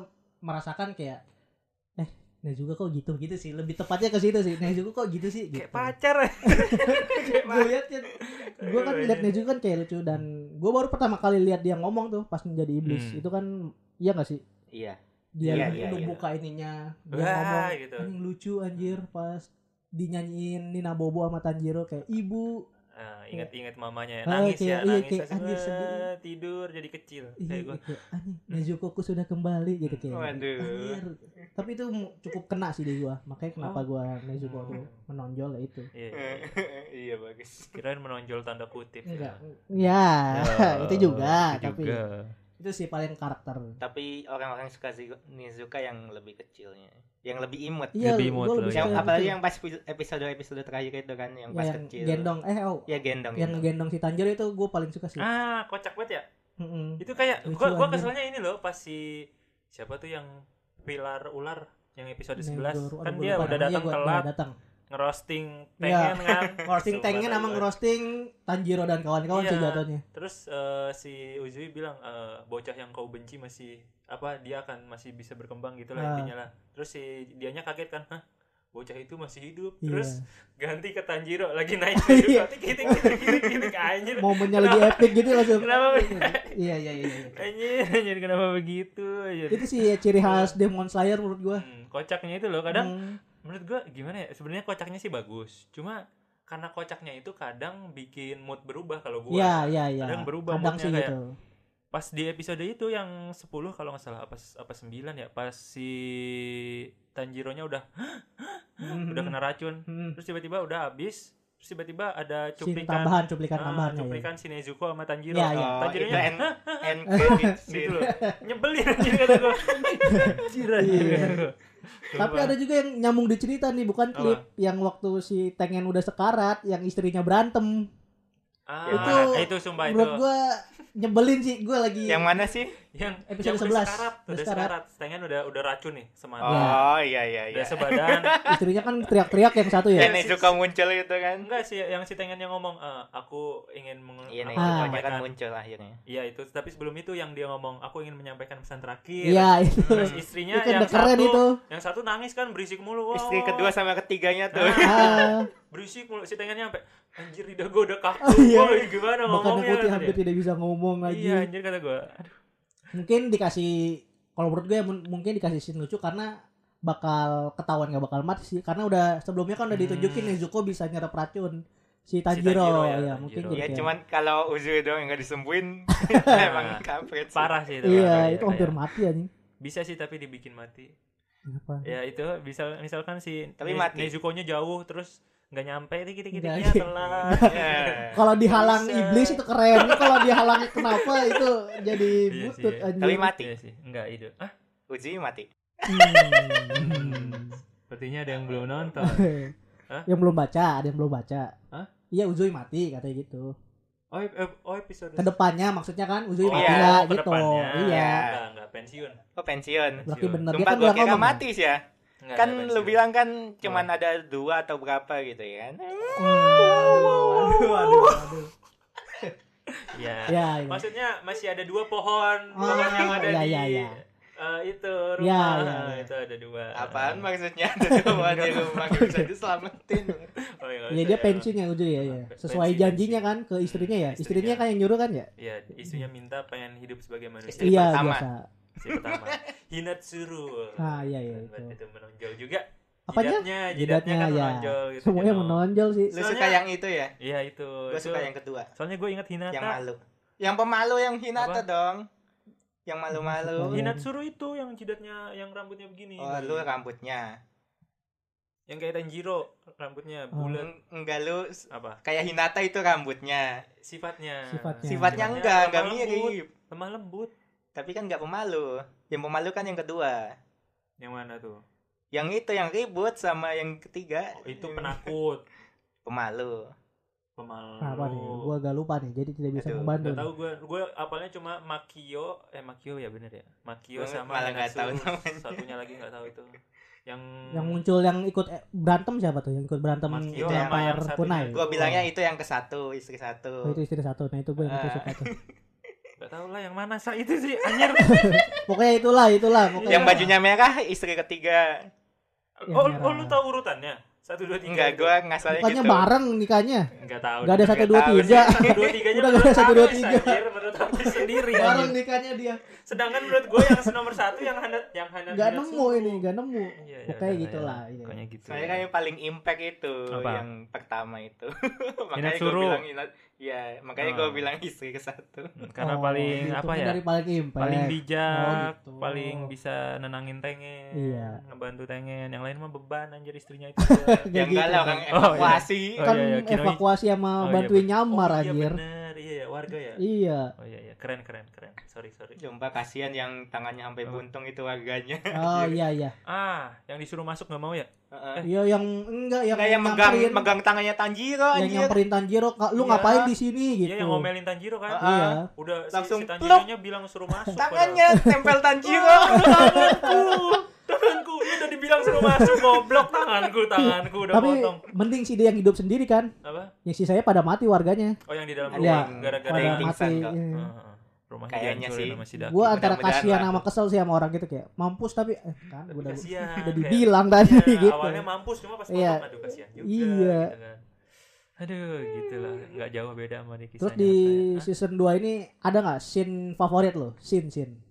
B: merasakan kayak eh nah juga kok gitu gitu sih lebih tepatnya ke situ sih nah juga kok gitu sih gitu.
A: kayak pacar kayak
B: gue lihat kan gue kan lihat
A: Aduh,
B: Nezuko kan kayak lucu dan gue baru pertama kali lihat dia ngomong tuh pas menjadi iblis
A: Hmm.
B: itu kan iya gak sih
C: iya
B: dia
C: Iya,
B: itu
C: iya, iya.
B: buka ininya dia
A: Wah,
B: ngomong
A: gitu.
B: anjing lucu anjir pas dinyanyiin Nina Bobo sama Tanjiro kayak ibu
A: Ah, ingat-ingat mamanya ya.
B: Iya. Ah,
A: nangis
B: kayak-
A: ya
B: iya,
A: nangis
B: kayak
A: langsung,
B: anjir
A: "Ah,
B: sendiri."
A: tidur jadi kecil kayak
B: iya
A: gua "Nah."
B: kayak, anjing Nezuko ku sudah kembali gitu kayak
C: Waduh.
B: anjir tapi itu mu- cukup kena sih di gua makanya
A: Oh.
B: kenapa gua Nezuko tuh
A: Hmm.
B: menonjol ya itu
A: Iya, iya, iya.
C: iya bagus
A: kirain menonjol tanda kutip
B: enggak ya itu juga tapi itu sih paling karakter
C: tapi orang-orang suka Zigo- Nizuka yang lebih kecilnya yang lebih imut
B: iya
A: Lebih
B: gua
A: imut
B: lebih
A: lagi.
B: suka
C: yang
A: Iya,
C: apalagi
B: kecil.
C: yang pas episode episode terakhir itu kan yang
B: Ya,
C: pas
B: yang
C: kecil
B: gendong eh oh
C: ya gendong
B: yang
C: gendong.
B: gendong si Tanjiro itu gue paling suka sih
A: ah kocak banget ya
B: Mm-mm.
A: itu kayak
B: Lucu
A: gua gua
B: anjir.
A: keselnya ini loh pas si siapa tuh yang pilar ular yang episode 11
B: Negoro.
A: kan
B: Aduh,
A: dia
B: lupa
A: udah
B: namanya
A: datang
B: gua,
A: telat
B: udah datang
A: ngerosting
B: Iya.
A: tengen kan
B: roasting Tengen sama ngerosting Tanjiro dan kawan-kawan sih
A: Iya.
B: jatuhnya
A: terus eh, si Uzui bilang eh, bocah yang kau benci masih apa dia akan masih bisa berkembang gitu lah
B: Ah.
A: intinya lah terus si dianya kaget kan Hah, bocah itu masih hidup
B: Iya.
A: terus ganti ke Tanjiro lagi naik hidup nanti kitik kitik kitik kitik anjir
B: momennya lagi epic gitu langsung
A: Kenapa?
B: iya iya iya iya.
A: anjir anjir kenapa begitu anjir
B: itu sih ya ciri khas Demon Slayer menurut gue
A: Hmm, kocaknya itu loh kadang
B: Hmm.
A: menurut gua gimana ya sebenarnya kocaknya sih bagus cuma karena kocaknya itu kadang bikin mood berubah kalau gua
B: Iya iya iya.
A: Kadang berubah moodnya
B: sih
A: kayak-
B: gitu.
A: pas di episode itu yang 10 kalau nggak salah apa apa 9 ya pas si Tanjiro-nya udah udah kena racun
B: Hmm.
A: terus tiba-tiba udah habis terus tiba-tiba ada
B: Scene
A: cuplikan
B: tambahan kan, ya? cuplikan
A: ah,
B: tambahan
A: cuplikan si Nezuko sama Tanjiro Ah,
B: Iya, iya.
A: Tanjironya Tanjiro
C: Oh, itu end, end credit scene.
A: gitu loh nyebelin anjir kata gua anjir anjir
B: Iya.
A: kata gua.
B: Tapi
A: Sumpah.
B: ada juga yang nyambung di cerita nih bukan
A: Apa?
B: klip yang waktu si Tengen udah sekarat yang istrinya berantem.
A: ah,
C: Itu-
A: itu itu sumpah itu
B: Menurut gue nyebelin sih gue lagi
C: yang mana sih
A: yang
B: Episode
A: yang
B: 11.
A: udah sekarat
B: Udah
A: udah
B: sekarat.
A: sekarat Tangan udah udah racun nih semata
B: Nah.
C: oh iya iya iya
A: udah sebadan
B: istrinya kan teriak-teriak yang satu
C: ya
B: ya.
C: Nezuka muncul itu kan
A: enggak sih yang si Tangan yang ngomong "Eh, aku ingin meng-
C: iya
A: aku
B: Ah.
C: Nezuka
A: menyampaikan-
C: kan muncul akhirnya
A: iya itu tapi sebelum itu yang dia ngomong aku ingin menyampaikan pesan terakhir
B: Iya itu.
A: terus istrinya
B: Itu kan
A: yang
B: udah keren
A: satu
B: itu.
A: yang satu nangis kan berisik mulu Wah,
C: istri kedua sama ketiganya tuh
A: Ah.
B: Ah,
A: berisik mulu si Tangannya sampai anjir lidah gua udah kaku
B: Oh, iya.
A: woy, gimana
B: bahkan
A: ngomongnya
B: Putih
A: kata
B: hampir
A: dia.
B: tidak bisa ngomong
A: iya
B: lagi.
A: anjir kata gua Aduh,
B: Mungkin dikasih kalau menurut gue mungkin dikasih scene lucu karena bakal ketahuan gak bakal mati sih karena udah sebelumnya kan udah ditunjukin
A: Hmm.
B: Nezuko bisa nyerap racun si
A: Tanjiro
B: Tanjiro,
A: ya,
B: ya,
A: Tanjiro.
B: mungkin
C: ya
B: jadi kayak-
C: cuman kalau Uzui doang yang gak disembuhin emang kampret sih
A: parah sih itu
B: Iya,
A: parah,
B: itu
A: iya.
B: hampir mati anjing.
A: bisa sih tapi dibikin mati
B: Kenapa?
A: ya itu bisa misalkan si
C: Tapi
A: Ne-
C: mati.
A: Nezuko-nya jauh terus nggak nyampe dikit dikitnya
B: Nggak.
A: telat
C: Ya.
B: Kalau dihalang
A: Bisa.
B: iblis itu keren. Kalau dihalang kenapa itu jadi
A: sih,
B: butut
A: iya.
B: anjing.
C: tapi mati
A: Iya sih nggak itu ah
C: Uzui mati
B: Hmm.
A: sepertinya ada yang belum nonton Hah?
B: yang belum baca, ada yang belum baca.
A: Hah?
B: Iya Uzui mati katanya gitu.
A: oh, ep- ep- oh episode
B: Kedepannya maksudnya kan Uzui
A: Oh,
B: mati
C: iya,
B: nggak
A: ke
B: gitu.
A: depannya.
B: Iya.
A: Nggak, nggak pensiun
C: kok Oh, pensiun
B: Berarti bener dia
C: Sumpah
B: kan
C: gua
B: udah
C: kira
B: ngomong.
C: mati sih ya
A: Nggak,
C: kan
A: nggak pensiun.
C: lu bilang kan cuman ada dua atau
A: Nah.
C: berapa gitu ya kan
B: Waduh, waduh, waduh.
A: Iya.
B: ya ini.
A: Maksudnya masih ada dua pohon,
B: Oh,
A: pohon yang ada
B: iya,
A: di
B: iya, iya.
A: eh, itu rumah
B: Iya, iya, iya.
A: itu ada dua.
C: Apaan maksudnya? Ada dua di rumah gak bisa diselamatin.
A: Oh, iya, nggak
B: Ya
A: usah
B: dia
A: ya.
B: pensiun ya Ujo ya, ya. Sesuai
A: Pensiun,
B: janjinya
A: pensiun.
B: kan ke istrinya ya.
A: Istrinya.
B: Istrinya kan yang nyuruh kan ya?
A: Iya, isunya minta pengen hidup sebagai manusia.
C: Istri
B: Iya
C: pertama.
B: biasa.
A: Si pertama. Hinatsuru.
B: Ah, iya, iya,
A: Buat
B: itu.
A: Itu menonjol juga.
B: Apanya?
A: Jidatnya, jidatnya, kan
B: Jidatnya ya.
A: menonjol
C: Iya.
A: gitu.
B: Semuanya
A: Jono.
B: menonjol sih.
C: Lu
A: Soalnya-
C: suka yang itu ya?
A: Iya, itu.
C: Gue
A: Itu-
C: suka yang kedua.
A: Soalnya gue ingat Hinata.
C: Yang malu. Yang pemalu yang Hinata
A: Apa?
C: dong. Yang malu-malu.
B: Suka yang-
A: Hinatsuru itu yang jidatnya yang rambutnya begini.
C: Oh, lu rambutnya.
A: Yang kayak Tanjiro, rambutnya bulat
C: Eng- Enggak lu s-
A: apa?
C: kayak Hinata itu rambutnya.
A: Sifatnya.
B: Hmm. Sifatnya.
C: Sifatnya
A: Sifatnya
C: enggak, enggak
A: lemah lembut.
C: mirip.
A: Lemah lembut.
C: Tapi kan enggak pemalu. Yang pemalu kan yang kedua.
A: Yang mana tuh?
C: Yang itu yang ribut sama yang ketiga. eh,
A: Oh, itu penakut,
C: Pemalu.
A: pemalu.
B: Apa nih? Gua agak lupa nih. Jadi tidak bisa
C: Oh. Aduh,
B: membantu.
A: Gak
B: nih.
A: tau gue, gue apalnya cuma Makio, eh Makio ya bener ya, Makio
C: Gua
A: sama
C: malah nggak
A: Hanatsu.
C: tahu namanya.
A: Satunya lagi nggak tahu itu. Yang
B: Yang muncul yang ikut eh, berantem siapa tuh? Yang ikut berantem
A: Mas Tio
B: itu
C: sama
B: lempar
A: yang satunya.
B: kunai.
C: Gua
A: Oh.
C: bilangnya itu yang ke satu, istri
B: Oh,
C: satu.
B: itu istri satu. Nah, itu gue yang itu
C: Ah.
B: suka tuh.
A: nggak tahu lah yang mana sa itu sih anjir.
B: Pokoknya itulah, itulah. Pokoknya
A: Iya.
C: Yang bajunya merah, istri ketiga.
B: Yang
A: oh,
B: merah.
A: oh, lu tahu urutannya? Satu dua tiga.
C: Enggak,
A: itu.
C: gua ngasalnya
B: Bukannya
C: gitu.
B: bareng nikahnya.
A: nggak tahu.
B: Gak ada
A: deh.
B: satu
C: nggak
B: dua
C: tahu
B: tiga.
A: Satu dua tiganya
B: Udah nggak
A: menurut
B: ada satu, dua,
A: Hafiz,
B: tiga.
A: anjir, menurut aku sendiri.
B: Bareng
A: anjir.
B: nikahnya dia.
A: Sedangkan menurut gue yang nomor satu yang Hana- yang Hana
B: Gak
A: Hanatsu.
B: nemu ini, gak nemu.
A: Iya, iya,
B: Pokoknya
A: udah,
B: gitulah.
A: ya.
B: iya.
A: Pokoknya gitu.
C: Soalnya kan yang paling impact itu
A: Apa?
C: yang pertama itu. makanya gue
A: Hinatsuru.
C: bilang Hina- ya, makanya gue
A: Oh.
C: bilang istri ke satu.
A: Hmm, Karena
B: Oh,
A: paling
B: gitu.
A: apa
B: Kan
A: ya?
B: Dari paling impact.
A: paling bijak,
B: Oh, gitu.
A: paling bisa nenangin tengen,
B: Iya.
A: ngebantu tengen. Yang lain mah beban anjir istrinya itu.
C: yang
B: Kayak
C: Ya enggak
B: gitu
C: lah
B: kan.
C: orang
A: Oh, iya.
C: evakuasi.
A: Oh,
B: kan
A: iya, iya, Kinohi.
B: evakuasi sama
A: Oh, iya,
B: bantuin
A: bener.
B: nyamar
A: oh, iya
B: anjir.
A: bener, iya ya warga ya.
B: Iya.
A: Oh iya iya, keren keren keren. Sorry sorry.
C: Jomba kasihan yang tangannya sampai
A: Apa?
C: buntung itu warganya.
B: Oh iya iya.
A: Ah, yang disuruh masuk nggak mau ya?
C: Heeh.
B: Iya yang enggak yang
C: Nah, yang megang
B: nyamperin-
C: megang tangannya Tanjiro
B: yang
C: anjir.
B: nyamperin Tanjiro, "Kak, lu
A: Iya.
B: ngapain di sini gitu.
A: Dia yang ngomelin Tanjiro kan.
C: Ah,
B: Iya.
A: Udah
C: Langsung
A: si, si
C: pluk.
A: Tanjironya bilang suruh masuk. Iya,
C: Tangannya tempel Tanjiro.
A: tanganku, tanganku. Lu udah dibilang suruh masuk goblok tanganku, tanganku udah
B: Tapi
A: potong.
B: mending si dia yang hidup sendiri kan.
A: Apa?
B: Yang sisanya pada mati warganya.
A: Oh yang Hmm. di dalam
B: Iya,
A: rumah gara-gara
B: pada
C: yang
B: mati.
C: pingsan kok.
B: iya.
A: Heeh. rumahnya
C: Kayaknya
A: dihancurin
C: sih.
A: sama si Daki.
B: Gua antara
C: Mudah-mudahan
B: kasihan
C: lah.
B: sama kesel sih sama orang gitu kayak mampus tapi eh, kan
A: Tapi
B: udah
A: kasihan,
B: udah
A: kayak-
B: dibilang tadi
A: Iya,
B: gitu.
A: awalnya mampus cuma pas
B: Iya.
A: masuk aduh kasihan juga
B: Iya.
A: gitu kan. aduh gitulah nggak jauh beda sama di
B: Terus
A: kisahnya
B: di
A: Hatta ya.
B: season 2 ini ada nggak scene favorit lo? Scene scene
A: Hah?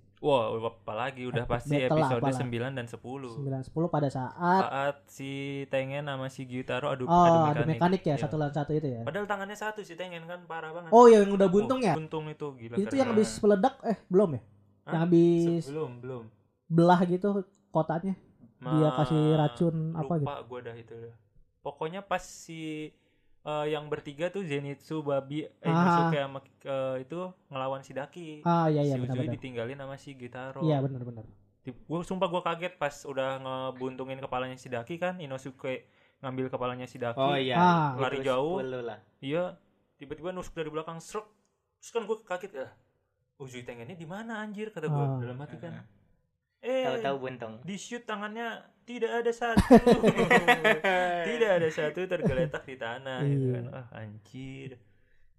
A: wah apalagi udah pasti
B: Battle Ah, lah,
A: episode
B: apalah.
A: 9 dan 10
B: 9 10 pada saat
A: saat si Tengen sama si Gyutaro adu,
B: oh, ada mekanik ya
A: Iya.
B: satu lawan satu itu ya.
A: padahal tangannya satu si Tengen kan parah banget
B: Oh yang udah buntung ya?
A: buntung itu gila
B: Itu
A: keren
B: yang
A: banget.
B: habis meledak eh belum ya?
A: Hah?
B: Yang habis
A: belum belum
B: belah gitu kotanya. Dia kasih racun apa gitu.
A: lupa gue dah itu dah. pokoknya pas si eh, yang bertiga tuh Zenitsu babi eh,
B: Ah.
A: Yusuke sama eh, itu ngelawan si Daki
B: Ah iya iya
A: si Uzui
B: benar-benar.
A: ditinggalin sama si Gitaro.
B: Iya benar-benar.
A: Gue sumpah gue kaget pas udah ngebuntungin kepalanya si Daki kan, Inosuke ngambil kepalanya si Daki.
C: Oh iya.
B: Ah.
C: itu
A: Lari jauh.
C: 10 lah.
A: Iya, tiba-tiba nusuk dari belakang stroke. Terus kan gue kaget ya. Uzui tangannya di mana anjir kata gue
B: Ah.
A: dalam hati kan. Eh,
C: Tahu-tahu buntung.
A: di shoot tangannya tidak ada satu.
C: Eh.
A: tidak ada satu tergeletak di tanah gitu kan. Ah, anjir.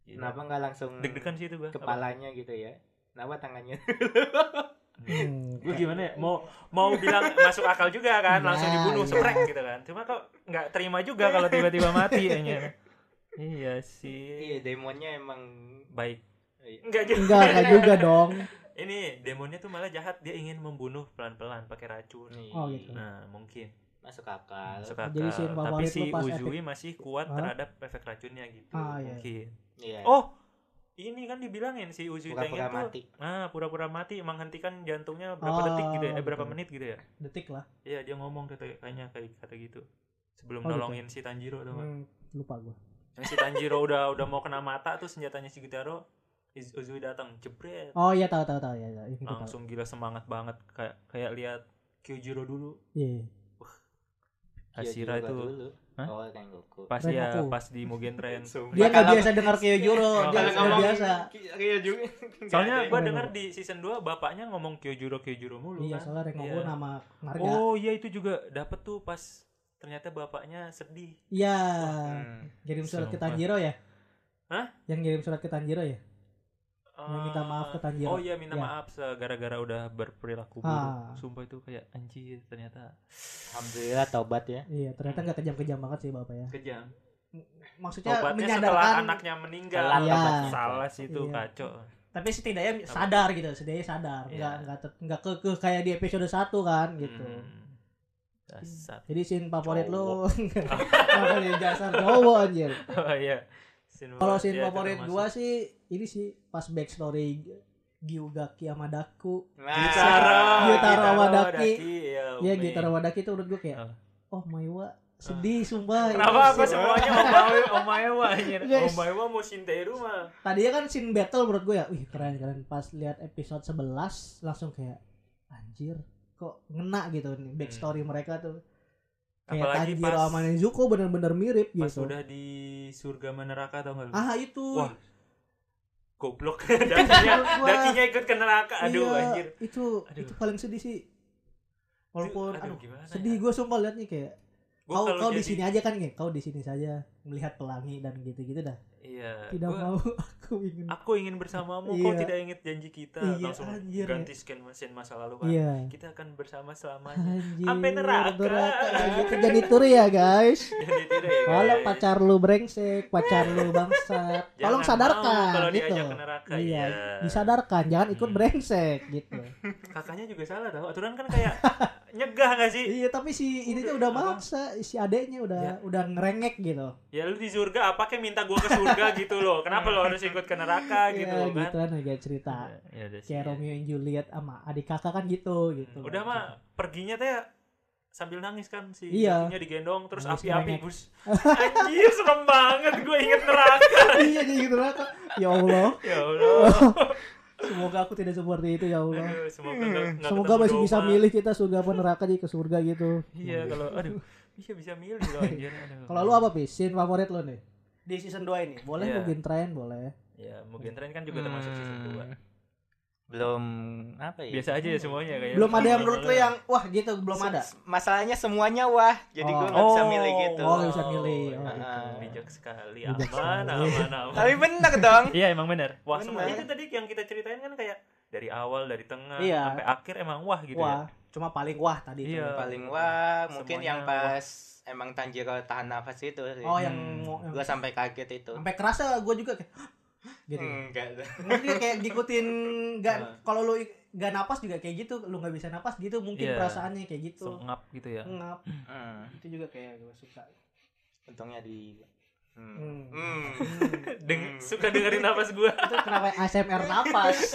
A: Gila.
C: Kenapa nggak langsung
A: Deg-degan sih itu, Bah.
C: kepalanya gitu ya? Kenapa tangannya?
B: Hmm,
A: gue gimana ya mau mau bilang masuk akal juga kan langsung
B: Ya,
A: dibunuh
B: ya.
A: seprek gitu kan cuma kok nggak terima juga kalau tiba-tiba mati ya iya
C: Iya,
A: sih
C: demonnya emang
A: baik
C: Iya.
A: nggak juga
B: Enggak, enggak juga dong.
A: ini demonnya tuh malah jahat dia ingin membunuh pelan-pelan pakai racun
C: Nih,
B: Oh, gitu.
A: nah mungkin
C: Masuk akal.
A: masuk
B: Jadi
A: akal
B: scene
A: tapi
B: favorit
A: si
B: lu pas
A: Uzui masih kuat
B: Hah?
A: terhadap efek racunnya gitu
B: Ah, iya.
A: mungkin
C: Iya.
A: oh ini kan dibilangin si Uzui Tengen
C: pura-pura
A: tuh
C: mati. Iya,
A: ah pura-pura mati menghentikan jantungnya berapa
B: Ah,
A: detik gitu ya eh, berapa
B: betul.
A: menit gitu ya
B: Detik lah.
A: Iya dia ngomong kata kayaknya kayak kata gitu sebelum
B: Oh, gitu.
A: nolongin si Tanjiro tuh.
B: Hmm, lupa gua.
A: Si Tanjiro udah udah mau kena mata tuh senjatanya si Gitaro Iz- Uzui datang jebret
B: Oh iya tahu tahu tahu ya. ya, itu tahu.
A: langsung gila semangat banget kayak kayak lihat Kyojiro dulu
B: Iya.
A: Hashira
C: Iya,
A: itu
C: dulu.
A: Hah?
C: Oh, kan Goku.
A: pas
B: Ren
A: ya
B: aku.
A: pas di Mugen Train
B: Dia
C: Sumpah,
B: nggak
C: kalau-
B: biasa dengar Kyojuro, dia
A: Kalau
B: nggak
A: ngomongin-
B: biasa.
C: Ki- Rio juga. nggak
A: soalnya
C: ada
A: gue
B: yang-
A: denger di season 2 bapaknya ngomong Kyojiro Kyojuro mulu
B: Iya,
A: kan
B: soalnya Rengoku
A: Iya.
B: nama marga.
A: oh iya itu juga dapet tuh pas ternyata bapaknya sedih
B: Iya.
C: yang- Hmm.
B: Kirim surat ke
A: Sumpah.
B: Tanjiro ya?
A: Hah?
B: Yang kirim surat ke Tanjiro ya?
A: eh,
B: minta maaf ke Tanjiro.
A: Oh iya minta
B: Ya.
A: maaf se- gara-gara udah berperilaku buruk.
B: Ah.
A: Sumpah itu kayak anjir ternyata
C: Alhamdulillah taubat ya.
B: Iya, ternyata nggak kejam-kejam banget sih bapak ya.
A: kejam.
B: Maksudnya
A: Tobatnya setelah
B: menyadarkan,
A: anaknya meninggal.
C: Telat
B: Iya.
C: tobatnya.
A: Salah sih itu
B: Iya.
A: kacau.
B: tapi setidaknya sadar gitu, setidaknya sadar,
A: Iya.
B: nggak nggak ter- nggak ke, ke kayak di episode 1 kan gitu.
A: Hmm. Dasar.
B: Jadi scene favorit lu Kenapa jadi dasar cowok anjir.
A: Oh iya. Scene
B: Kalau
A: banget.
B: scene
A: Ya, itu
B: favorit
A: termasuk.
B: gua sih ini sih pas backstory Gyugaki sama Daku.
C: Nah,
A: Gitaro,
B: Gitaro Wadaki.
A: ya,
B: Iya,
A: Umi.
B: gitar Wadaki itu menurut gua kayak
A: Ah.
B: oh Maiwa sedih sumpah. Iya,
A: Kenapa
B: Itu
A: apa
B: sih.
A: semuanya Omae Omaewa anjir?
B: Iya, Guys.
A: Omaewa mau Shinteru mah.
B: Tadinya kan scene battle menurut gue ya, wih keren-keren pas lihat episode 11 langsung kayak anjir kok ngena gitu nih backstory mereka tuh. Kayak
A: Hmm. Apalagi
B: Iya, Tanjiro
A: pas-
B: sama Nezuko bener-bener mirip
A: Pas
B: gitu.
A: udah di surga neraka tau gak lu?
B: Ah itu.
A: Wah, Goblok. Dakinya,
B: Menurut gua,
A: dakinya ikut ke neraka. Aduh
B: iya,
A: anjir.
B: Itu
A: Aduh.
B: itu paling sedih sih. Walaupun aduh,
A: gimana ya?
B: sedih gue sumpah liatnya kayak
A: Gua
B: kau
A: kalau
B: kau di
A: jadi-
B: sini aja kan kayak kau di sini saja melihat pelangi dan gitu-gitu dah.
A: Iya.
B: Tidak
A: gua-
B: mau aku ingin
A: Aku ingin bersamamu, kau
B: Iya.
A: tidak ingat janji kita.
B: Iya,
A: Langsung
B: anjir, ya.
A: ganti scan mesin masa lalu kan.
B: Iya.
A: Kita akan bersama selamanya.
B: Anjir,
A: Sampai neraka.
B: Gitu jadi turi ya guys.
A: Jadi tidak ya.
B: Kalau
A: guys.
B: pacar lu brengsek, pacar lu bangsat,
A: Jangan
B: tolong
A: mau
B: sadarkan
A: kalau
B: gitu.
A: diajak ke neraka,
B: iya,
A: iya.
B: disadarkan, jangan ikut
A: Hmm.
B: brengsek gitu.
A: kakaknya juga salah tau. Aturan kan kayak nyegah gak sih?
B: iya, tapi si ini tuh
A: Udah,
B: udah
A: apa?
B: maksa, si adeknya udah
A: Ya.
B: udah ngerengek gitu.
A: Ya lu di surga apa kayak minta gua ke surga gitu loh. Kenapa lo harus ikut ke neraka gitu
B: Iya,
A: kan?
B: gituan aja cerita.
A: Ya, udah sih,
B: Kayak
A: ya.
B: Romeo and Juliet sama adik kakak kan gitu gitu.
A: Udah mah perginya teh sambil nangis kan si
B: Iya.
A: kakinya digendong terus
B: Nangis
A: api-api
B: merengek.
A: bus. Anjir serem banget gue inget neraka.
B: iya jadi gitu lah. Kak. Ya Allah,
A: Ya Allah.
B: semoga aku tidak seperti itu ya Allah.
A: Aduh, semoga nggak nggak
B: Semoga
A: ketemu
B: masih bisa
A: Doma.
B: milih kita surga apa neraka jadi ke surga gitu.
A: Iya kalau aduh iya bisa milih loh anjir. aduh.
B: Kalau lu apa Pis? Scene favorit lu nih? Di season 2 ini. Boleh
A: Iya.
B: mungkin tren, boleh.
A: ya mungkin tren kan juga termasuk season
C: Hmm.
A: 2.
C: Belum apa ya?
A: Biasa aja ya semuanya kayaknya.
B: Belum ada yang menurut
A: Iya.
B: lu yang wah gitu, belum ada.
C: Se- Masalahnya semuanya wah, jadi gua
B: Oh.
C: nggak bisa milih gitu.
B: Oh, nggak bisa milih. Oh,
A: Iya,
C: gitu.
A: Bijak sekali.
B: Bijak
A: aman,
B: sekali.
A: aman, aman.
C: Tapi bener dong.
A: Iya emang bener. Wah
C: Bener.
A: semua itu tadi yang kita ceritain kan kayak dari awal, dari tengah,
B: Iya.
A: sampai akhir emang wah gitu ya.
B: wah, cuma paling wah tadi itu.
A: Iya.
C: Paling wah, mungkin
A: Semuanya
C: yang pas emang Tanjiro tahan nafas itu sih.
B: Oh, yang,
A: Hmm.
B: yang
C: Gua sampai kaget itu.
B: sampai kerasa gue juga kayak "Hah?" gitu.
A: Hmm.
C: Enggak.
B: Maksudnya kayak ngikutin gak,
A: Nah.
B: kalau lu ik- gak napas juga kayak gitu, lu gak bisa napas gitu mungkin
A: Iya.
B: perasaannya kayak gitu.
A: Sengap gitu ya.
B: Ngap,
C: Hmm.
B: itu juga kayak gue suka.
C: Untungnya di Hmm.
B: Hmm.
C: Hmm.
A: Deng suka dengerin nafas gua.
B: itu kenapa ASMR napas?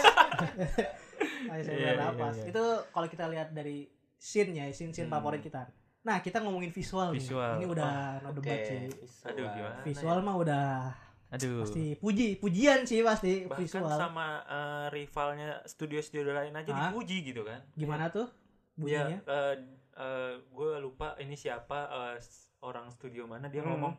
B: ASMR
A: Iya, iya,
B: napas.
A: iya.
B: Itu kalau kita lihat dari scene ya, scene-scene
A: Hmm.
B: favorit kita. Nah, kita ngomongin visual, nih.
A: Visual.
B: Ini udah no
C: Oke.
B: debat sih.
A: Aduh gimana?
B: Visual
A: ya?
B: mah udah
A: Aduh.
B: pasti puji, pujian sih pasti
A: Bahkan
B: visual.
A: sama eh, rivalnya studio-studio lain aja
B: Hah? ya?
A: dipuji gitu kan.
B: Gimana tuh?
A: Iya,
B: Bunyinya?
A: gue lupa ini siapa eh, s- orang studio mana dia
B: Hmm.
A: ngomong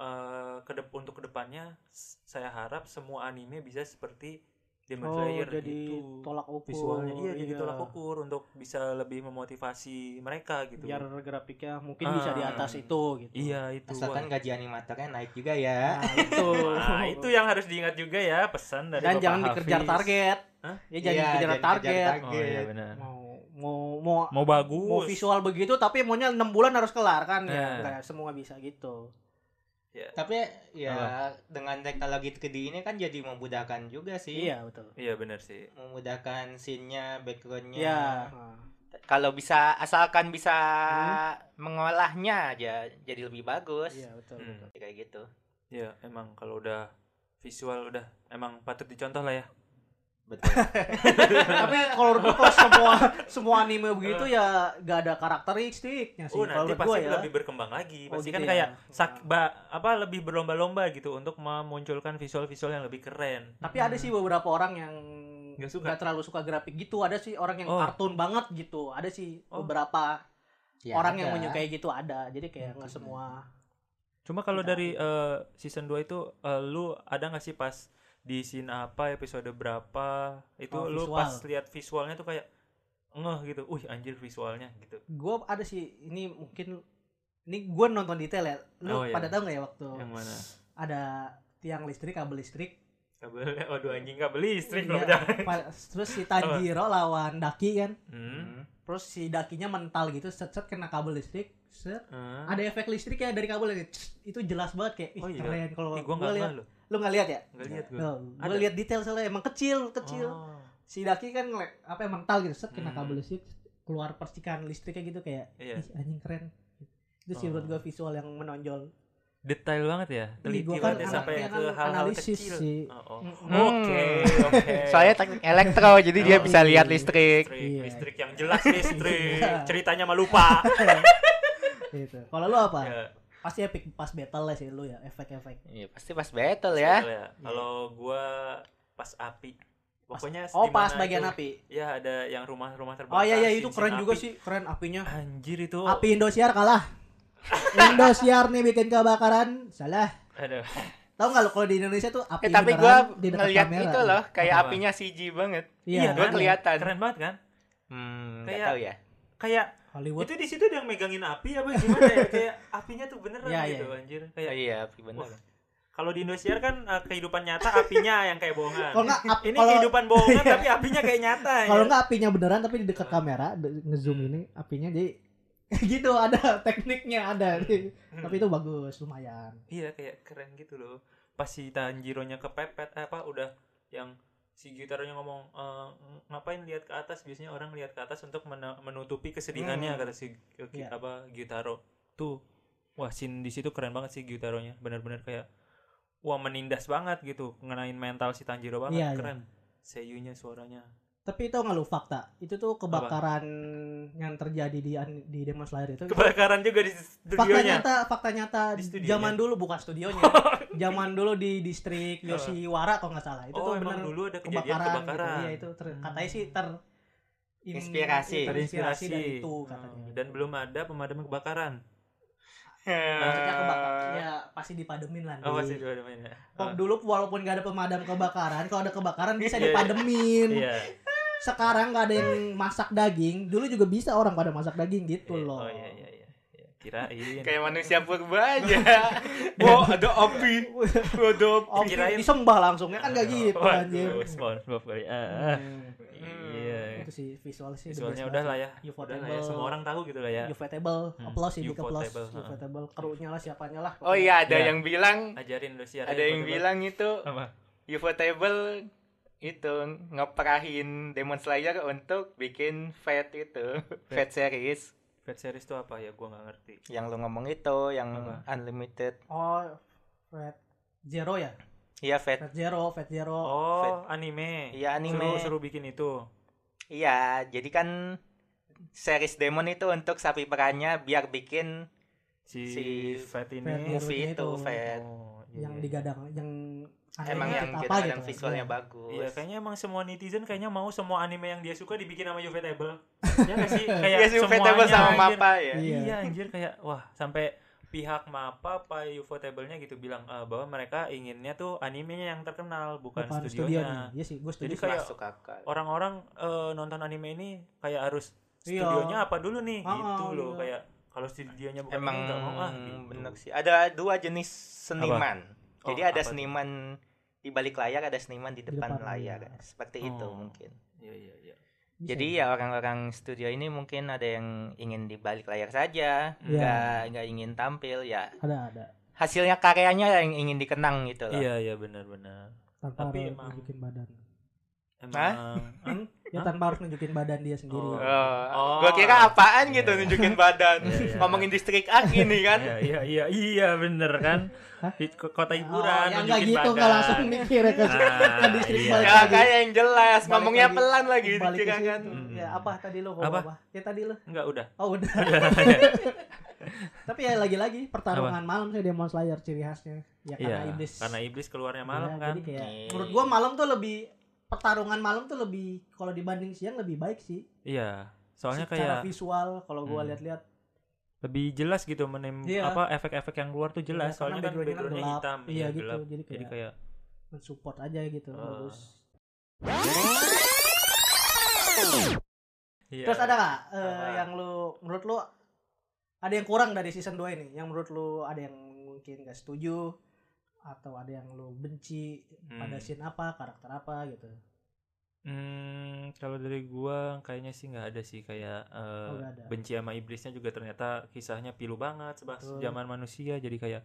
A: eh, kedep untuk kedepannya s- saya harap semua anime bisa seperti Demon
B: Oh,
A: Slayer gitu
B: tolak ukur.
A: visualnya iya, jadi tolak ukur untuk bisa lebih memotivasi mereka gitu
B: Biar grafiknya mungkin
A: Ah.
B: bisa di atas itu gitu.
A: iya itu
C: Asalkan
A: wah.
C: gaji animatornya naik juga ya.
B: Nah, itu.
A: Nah, itu yang harus diingat juga ya pesan dari Bapak
B: Dan jangan
A: Hafiz.
B: dikejar target.
A: Hah?
B: Ya jangan
C: Iya,
B: dikejar
C: jangan
B: target.
C: dikejar
A: oh iya benar
B: Mau mau mau
A: mau bagus
B: mau visual begitu tapi maunya 6 bulan harus kelar kan
A: Eh.
B: ya nggak semua bisa gitu
C: Tapi ya dengan teknologi 3D ini kan jadi memudahkan juga sih.
B: iya betul
A: iya benar sih
C: memudahkan scene-nya, background-nya.
B: ya
A: Nah.
C: Kalau bisa asalkan bisa mengolahnya aja jadi lebih bagus.
B: iya betul
A: Hmm.
B: betul.
C: Kayak gitu.
A: Iya, emang kalau udah visual udah emang patut dicontoh lah ya.
C: Betul.
B: tapi kalau menurut gua kalau semua semua anime begitu ya gak ada karakteristiknya sih
A: Oh,
B: kalau
A: nanti
B: menurut gua
A: pasti
B: ya
A: lebih berkembang lagi.
B: Oh,
A: Pasti
B: gitu
A: kan
B: ya?
A: kayak sak-
B: Nah.
A: ba- apa lebih berlomba-lomba gitu untuk memunculkan visual-visual yang lebih keren.
B: tapi ada sih beberapa orang yang
A: Nggak suka.
B: nggak terlalu suka grafik gitu ada sih orang yang
A: Oh.
B: kartun banget gitu ada sih
A: Oh.
B: beberapa
C: Ya,
B: orang yang
C: ada.
B: menyukai gitu ada jadi kayak
A: Hmm.
B: nggak semua
A: Cuma kalau
B: Kita-
A: dari eh, season 2 itu eh, lu ada nggak sih pas di scene apa episode berapa itu
B: Oh,
A: lu
B: visual.
A: pas lihat visualnya tuh kayak ngeh gitu. Uh, anjir visualnya gitu.
B: gue ada sih ini mungkin ini gue nonton detail ya lu
A: Oh, iya.
B: pada tahu nggak ya waktu
A: Yang mana?
B: ada tiang listrik kabel listrik
A: kabel waduh anjing kabel listrik loh
B: Iya,
A: jangan.
B: pa- terus si Tanjiro lawan Daki kan
A: Hmm.
B: terus si Dakinya mental gitu set set kena kabel listrik set
A: Ah.
B: ada efek listrik ya dari kabel ini Tss, itu jelas banget kayak ih
A: Oh iya.
B: keren kalau
A: Ih,
B: gua
A: gua nggak
B: lihat
A: lihat lo
B: lu nggak lihat ya
A: nggak lihat gue
B: Tuh, gua
A: Ada.
B: lihat detail soalnya emang kecil kecil
A: Oh.
B: si Daki kan ngelek apa ya, mental gitu set kena
A: Hmm.
B: kabel listrik keluar percikan listriknya gitu kayak
A: Iya.
B: ih anjing keren itu sih
A: Oh.
B: menurut gua visual yang menonjol
A: detail banget ya teliti
B: gua kan
A: banget ya
B: anaknya
A: sampai
B: kan
A: ke hal-hal
B: analisis
A: kecil
B: sih. Hmm.
A: Oh, oh.
B: Mm-mm.
A: oke oke
C: Soalnya teknik elektro jadi dia
A: Oh.
C: bisa lihat listrik.
A: listrik
B: Iya.
A: listrik yang jelas listrik
B: Iya.
A: ceritanya mah lupa
B: gitu kalau lu apa
A: Ya,
B: pasti epic pas battle lah sih lu ya efek-efek
C: Iya, pasti pas battle ya.
A: betul kalau gua pas api pokoknya di
B: oh Iya. pas
A: mana
B: bagian
A: itu-
B: api
A: ya ada yang rumah-rumah terbakar
B: oh iya iya itu
A: cincin
B: keren juga
A: api.
B: sih keren apinya
A: anjir itu
B: api Indosiar kalah Indosiar nih bikin kebakaran salah
A: aduh
B: Tahu nggak lo kalau di Indonesia tuh
C: Eh,
B: api
C: tapi
B: beneran
C: gua
B: di dekat
C: ngeliat
B: kamera.
C: itu loh kayak
A: Apa?
C: apinya CG banget.
B: Iya,
A: Iya,
C: Gua
A: kan?
C: kelihatan.
A: keren banget kan
C: Hmm, nggak
A: Kayak-
C: tahu ya.
A: kayak
B: Hollywood.
A: itu di situ ada yang megangin api apa gimana ya kayak apinya tuh beneran
B: Iya,
A: gitu
B: iya.
A: anjir
C: Oh,
A: kayak
C: iya, api bener.
A: Wah. kalau di Indonesia kan eh, kehidupan nyata apinya yang kayak bohongan
B: Kalau nggak ap-
A: ini
B: kalau-
A: kehidupan bohongan
B: Iya.
A: tapi apinya kayak nyata ya.
B: Kalau nggak apinya beneran tapi di dekat kamera de- ngezoom ini apinya jadi gitu ada tekniknya ada.
A: Hmm.
B: tapi itu bagus lumayan.
A: iya kayak keren gitu loh pas si Tanjiro-nya kepepet eh, apa udah yang si gitarnya ngomong eh, ngapain lihat ke atas biasanya orang lihat ke atas untuk mena- menutupi kesedihannya kata si eh, ki-
B: Hmm. Iya.
A: apa Gitaro tuh wah sin di situ keren banget sih Gitaronya benar-benar kayak wah menindas banget gitu ngenain mental si Tanjiro banget
B: Iya, iya.
A: keren seiyunya suaranya
B: Tapi itu nggak lu fakta? Itu tuh kebakaran yang terjadi di an- di Demon Slayer itu.
A: kebakaran juga di
B: Fakta
A: studionya
B: nyata, fakta nyata
A: Di studionya. Oh, iya.
B: zaman dulu bukan studionya. zaman dulu di distrik Yoshiwara kalau nggak salah. Itu
A: oh
B: tuh
A: emang
B: bener
A: dulu ada kejadian
B: kebakaran,
A: kebakaran, Hmm.
B: gitu. Iya, itu ter- katanya sih ter in- ya,
C: Inspirasi.
B: terinspirasi
A: terinspirasi
B: dari itu katanya.
A: Oh, dan belum ada pemadam kebakaran
B: maksudnya kebakaran ya pasti dipademin lah.
A: Oh
B: Di-
A: masih Oh, dua namanya.
B: Kok dulu walaupun gak ada pemadam kebakaran, kalau ada kebakaran
A: Iya,
B: bisa
A: iya.
B: dipademin.
A: Iya.
B: Sekarang gak ada yang masak daging, dulu juga bisa orang pada masak daging gitu
A: Iya.
B: loh.
A: Oh iya iya iya. Iya, Kirain.
C: Kayak manusia purba aja. Wah, ada api. Wah, ada api.
B: Oh,
A: Kirain-
B: disembah langsung kan gak gitu anjir.
A: Oh, Waduh, SpongeBob kali. Ah, ah.
B: Hmm,
A: Iya.
B: Itu sih visual sih. Iya. the
A: Visualnya
B: best
A: udah
B: banget
A: lah ya.
B: sih.
A: Udah lah ya.
B: Ufotable.
A: Semua orang tahu gitu lah ya.
B: Ufotable,
A: Hmm,
B: applause ini applause.
A: Ufotable, ha.
B: Ufotable, krunya lah siapanya lah.
C: Oh iya, ada
A: Iya.
C: yang bilang,
A: Ajarin Indonesia. Eh,
C: ada yang bilang itu
A: apa?
C: UFO Table itu ngeperahin Demon Slayer untuk bikin Fate itu, Fate series
A: Fat series itu apa ya? Gua nggak ngerti.
C: yang lu ngomong itu, yang
A: Apa?
C: unlimited.
B: Oh, Fat Zero ya?
C: Iya Fate.
B: Fat Zero, Fat Zero.
A: Oh, anime.
C: Iya, anime.
A: Suruh, suruh bikin itu.
C: Iya, jadi kan series Demon itu untuk sapi perannya biar bikin
A: Si,
C: Si
A: Fat
B: Fat
A: ini.
B: Heroes
C: movie itu
B: itu.
C: Fate.
A: Oh, iya,
B: yang
A: iya.
B: digadang yang
A: Ah,
C: Emang
B: anime
C: yang
B: kita
C: kita kadang
B: ya?
C: visualnya
B: Iya.
C: bagus.
A: gitu Iya, kayaknya emang semua netizen kayaknya mau semua anime yang dia suka dibikin sama Yuvetable. ya nggak sih? Kayak
C: Iya, sih, UFO Table
A: semuanya,
C: sama
A: anjir.
C: Mappa ya.
B: Iya.
A: Iya. anjir kayak wah sampai pihak MAPA apa UFO table-nya gitu bilang eh, bahwa mereka inginnya tuh animenya yang terkenal bukan,
B: bukan studionya
A: studionya.
B: iya sih gue
A: Jadi
B: setuju
A: kayak- Oh,
C: masuk akal.
A: Orang-orang eh, nonton anime ini kayak harus
B: Iya.
A: studionya apa dulu nih
B: Ah,
A: gitu
B: ah,
A: loh
B: iya.
A: kayak kalau studionya bukan
C: Emang
A: ini nggak mau ah gitu.
C: bener sih. Ada dua jenis seniman.
A: Oh,
C: Jadi ada
A: apa tuh?
C: seniman di balik layar, ada seniman di
B: Di
C: depan,
B: depan
C: layar.
B: layar.
C: Seperti itu
A: Oh.
C: mungkin.
A: Iya iya iya.
B: Bisa.
C: Jadi ya orang-orang studio ini mungkin ada yang ingin di balik layar
A: Iya.
C: saja, nggak nggak ingin tampil ya.
B: ada ada
C: Hasilnya karyanya yang ingin dikenang gitu loh.
A: Iya iya benar-benar.
B: tanpa
A: Tapi
B: harus
A: emang-
B: nunjukin badan
A: Emang
C: Hah?
A: Hmm?
B: ya tanpa harus nunjukin badan dia sendiri
A: Oh.
B: Iya.
A: Oh.
C: Gue kira apaan
A: Iya,
C: gitu
A: iya.
C: nunjukin badan,
A: Iya, iya.
C: ngomongin distrik A ini kan.
A: Iya iya iya iya bener kan. Di ko- kota hiburan
B: ya nggak
A: nunjukin
B: gitu
A: badan.
B: nggak langsung mikir kan. ke
A: Ah,
B: ke distrik
A: iya.
B: balik
C: Gak
B: lagi.
C: Ya, kayak yang jelas,
B: Balik
C: ngomongnya
B: lagi.
C: pelan lagi
B: Balik ke
C: dikira
B: situ.
C: kan.
A: gitu Hmm.
B: ya apa tadi lo
A: Apa?
B: apa ya tadi lo
A: Enggak udah.
B: oh udah tapi ya lagi-lagi pertarungan malam sih Demon Slayer ciri khasnya ya karena
A: Iya,
B: iblis
A: Karena iblis keluarnya
B: Ya,
A: malam kan.
B: jadi kayak
C: Nih.
B: menurut gua malam tuh lebih pertarungan malam tuh lebih kalau dibanding siang lebih baik sih
A: Iya, soalnya
B: secara
A: kayak
B: visual kalau gua
A: Hmm.
B: lihat-lihat
A: lebih jelas gitu menim
B: Iya.
A: apa efek-efek yang keluar tuh jelas.
B: Iya,
A: soalnya
B: karena
A: kan
B: backgroundnya kan
A: backgroundnya
B: gelap.
A: hitam,
B: Iya,
A: iya,
B: gitu.
A: gelap.
B: Jadi
A: Jadi kayak
B: mensupport aja gitu
A: Ah.
B: bagus.
A: iya.
B: Terus ada nggak eh,
A: Apa?
B: yang lu menurut lu ada yang kurang dari season 2 ini yang menurut lu ada yang mungkin gak setuju atau ada yang lu benci pada
A: Hmm.
B: scene apa karakter apa gitu
A: Hmm, kalau dari gua kayaknya sih nggak ada sih kayak eh,
B: Oh, nggak ada.
A: benci sama iblisnya juga ternyata kisahnya pilu banget sebab
B: Betul.
A: zaman manusia jadi kayak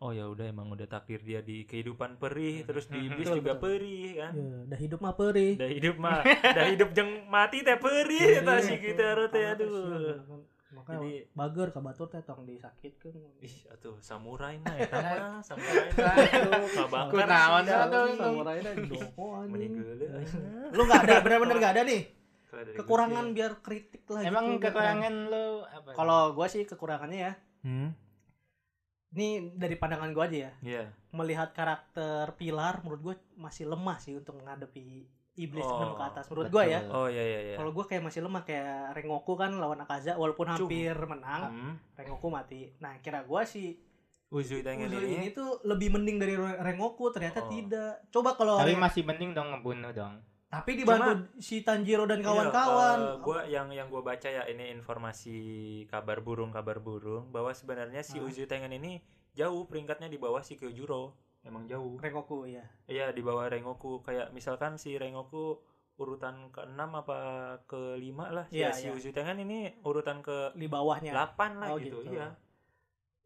A: oh ya udah emang udah takdir dia di kehidupan perih terus di iblis
B: Hmm. Betul,
A: juga
B: betul.
A: perih kan.
B: ya dah hidup mah perih Iya,
A: Dah hidup mah, dah hidup jeng mati teh perih eta sih kita harus teh
B: Tangan teh
A: aduh.
B: sial, ya, kan. makanya
A: Jadi-
B: bager ka batur teh tong disakitkeun
A: Ih, atuh samurai mah eta mah samurai mah.
B: Aduh,
A: Kabakar
C: Kunaon
A: sih,
C: dah
A: dah.
C: tuh?
B: samurai dah didoko
A: Meni
B: anjing
A: geuleuh, anjing.
B: lu nggak ada bener-bener nggak ada nih
A: eh, Kalau dari gua
B: kekurangan
A: sih-
B: biar kritik lah
C: Emang
B: gitu.
C: kekurangan lo apa?
B: kalau gua sih kekurangannya ya
A: Hmm,
B: ini dari pandangan gua aja ya
A: iya.
B: melihat karakter pilar menurut gua masih lemah sih untuk menghadapi iblis
A: Oh,
B: sebelum ke atas menurut gua ya
A: Oh iya iya iya.
B: kalau gua kayak masih lemah kayak Rengoku kan lawan Akaza walaupun
A: Cuk.
B: hampir menang
A: Hmm.
B: Rengoku mati nah kira gua sih
A: Uzui dengan
B: Uzui
A: ini.
B: ini tuh lebih mending dari Ren- Rengoku
A: Oh.
B: ternyata tidak coba kalau
C: Tapi
B: Ren-
C: masih mending dong ngebunuh dong.
B: tapi dibantu si Tanjiro dan
A: Iya,
B: kawan-kawan
A: eh, gua yang yang gua baca ya ini informasi kabar burung kabar burung bahwa sebenarnya si
B: Ah.
A: Uzu Tengen ini jauh peringkatnya di bawah si Kyojuro. Emang jauh.
B: Rengoku ya
A: Iya, di bawah Rengoku. Kayak misalkan si Rengoku urutan ke-6 apa ke-5 lah. ya,
B: Iya,
A: si
B: iya.
A: Uzu Tengen ini urutan ke-8
B: di bawahnya
A: lah
B: Oh,
A: gitu.
B: gitu.
A: Iya.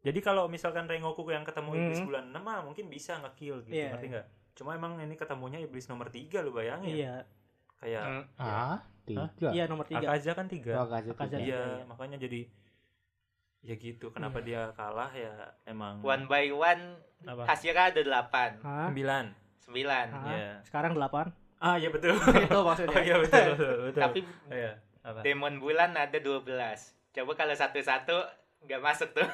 A: Jadi kalau misalkan Rengoku yang ketemu iblis
B: Hmm.
A: bulan 6 mah mungkin bisa nge-kill gitu,
B: Iya,
A: ngerti
B: iya.
A: nggak? Cuma emang ini ketemunya iblis nomor 3 lu bayangin.
B: iya
A: Kayak
E: Ah, tiga.
B: iya nomor tiga
A: Akaza kan 3.
E: Oh, kasih
B: Akaza
E: tiga.
A: Iya,
B: tiga.
A: makanya jadi ya gitu.
B: Iya.
A: Kenapa dia kalah ya emang
C: One by one
A: apa?
C: hasilnya kan ada delapan,
B: Hah?
A: 9.
C: sembilan.
B: Hah?
A: Iya.
B: sekarang delapan
A: Ah, iya betul.
B: itu
A: oh
B: maksudnya
A: iya betul, betul, betul.
C: Tapi
A: Oh, iya, apa?
C: demon bulan ada 12 Coba kalau satu-satu nggak masuk tuh.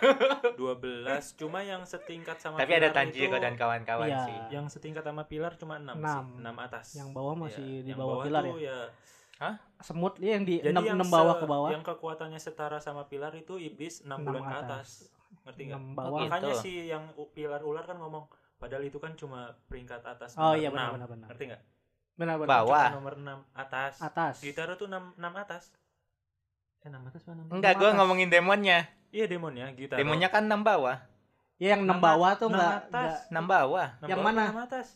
A: 12 cuma yang setingkat sama
C: Tapi ada
A: Pilar
C: Tanjiro
A: itu-
C: dan kawan-kawan
B: Iya.
C: sih.
A: yang setingkat sama pilar cuma 6
B: Enam.
A: sih, 6 atas.
B: Yang bawah masih
A: Iya,
B: di
A: yang
B: bawah Pilar
A: tuh ya.
B: semut iya yang di
A: Jadi
B: enam
A: yang
B: enam bawah
A: se-
B: ke bawah
A: Yang kekuatannya setara sama pilar itu iblis 6
B: Enam
A: bulan ke
B: atas.
A: atas. Ngerti nggak?
B: enam bawah
C: Oke.
A: Makanya
C: Gitu.
A: si yang u- pilar ular kan ngomong padahal itu kan cuma peringkat atas
B: oh
A: nomor
B: iya
A: enam."
B: benar benar benar
A: Ngerti nggak?
B: benar benar
C: Bawah.
A: Cuma nomor 6 atas.
B: atas
A: Gitaro tuh 6 6 atas. Eh 6 atas apa 6?
C: Enggak, gue
B: atas.
C: ngomongin demonnya.
A: Iya demonnya Gitaro.
C: Hmm. Demonnya kan enam bawah,
B: ya yang enam
A: Enam
B: bawah tuh
A: enam
B: enggak
A: atas.
B: enggak-
C: enam bawah.
A: Enam
B: yang
A: bawah
B: mana?
A: apa enam atas.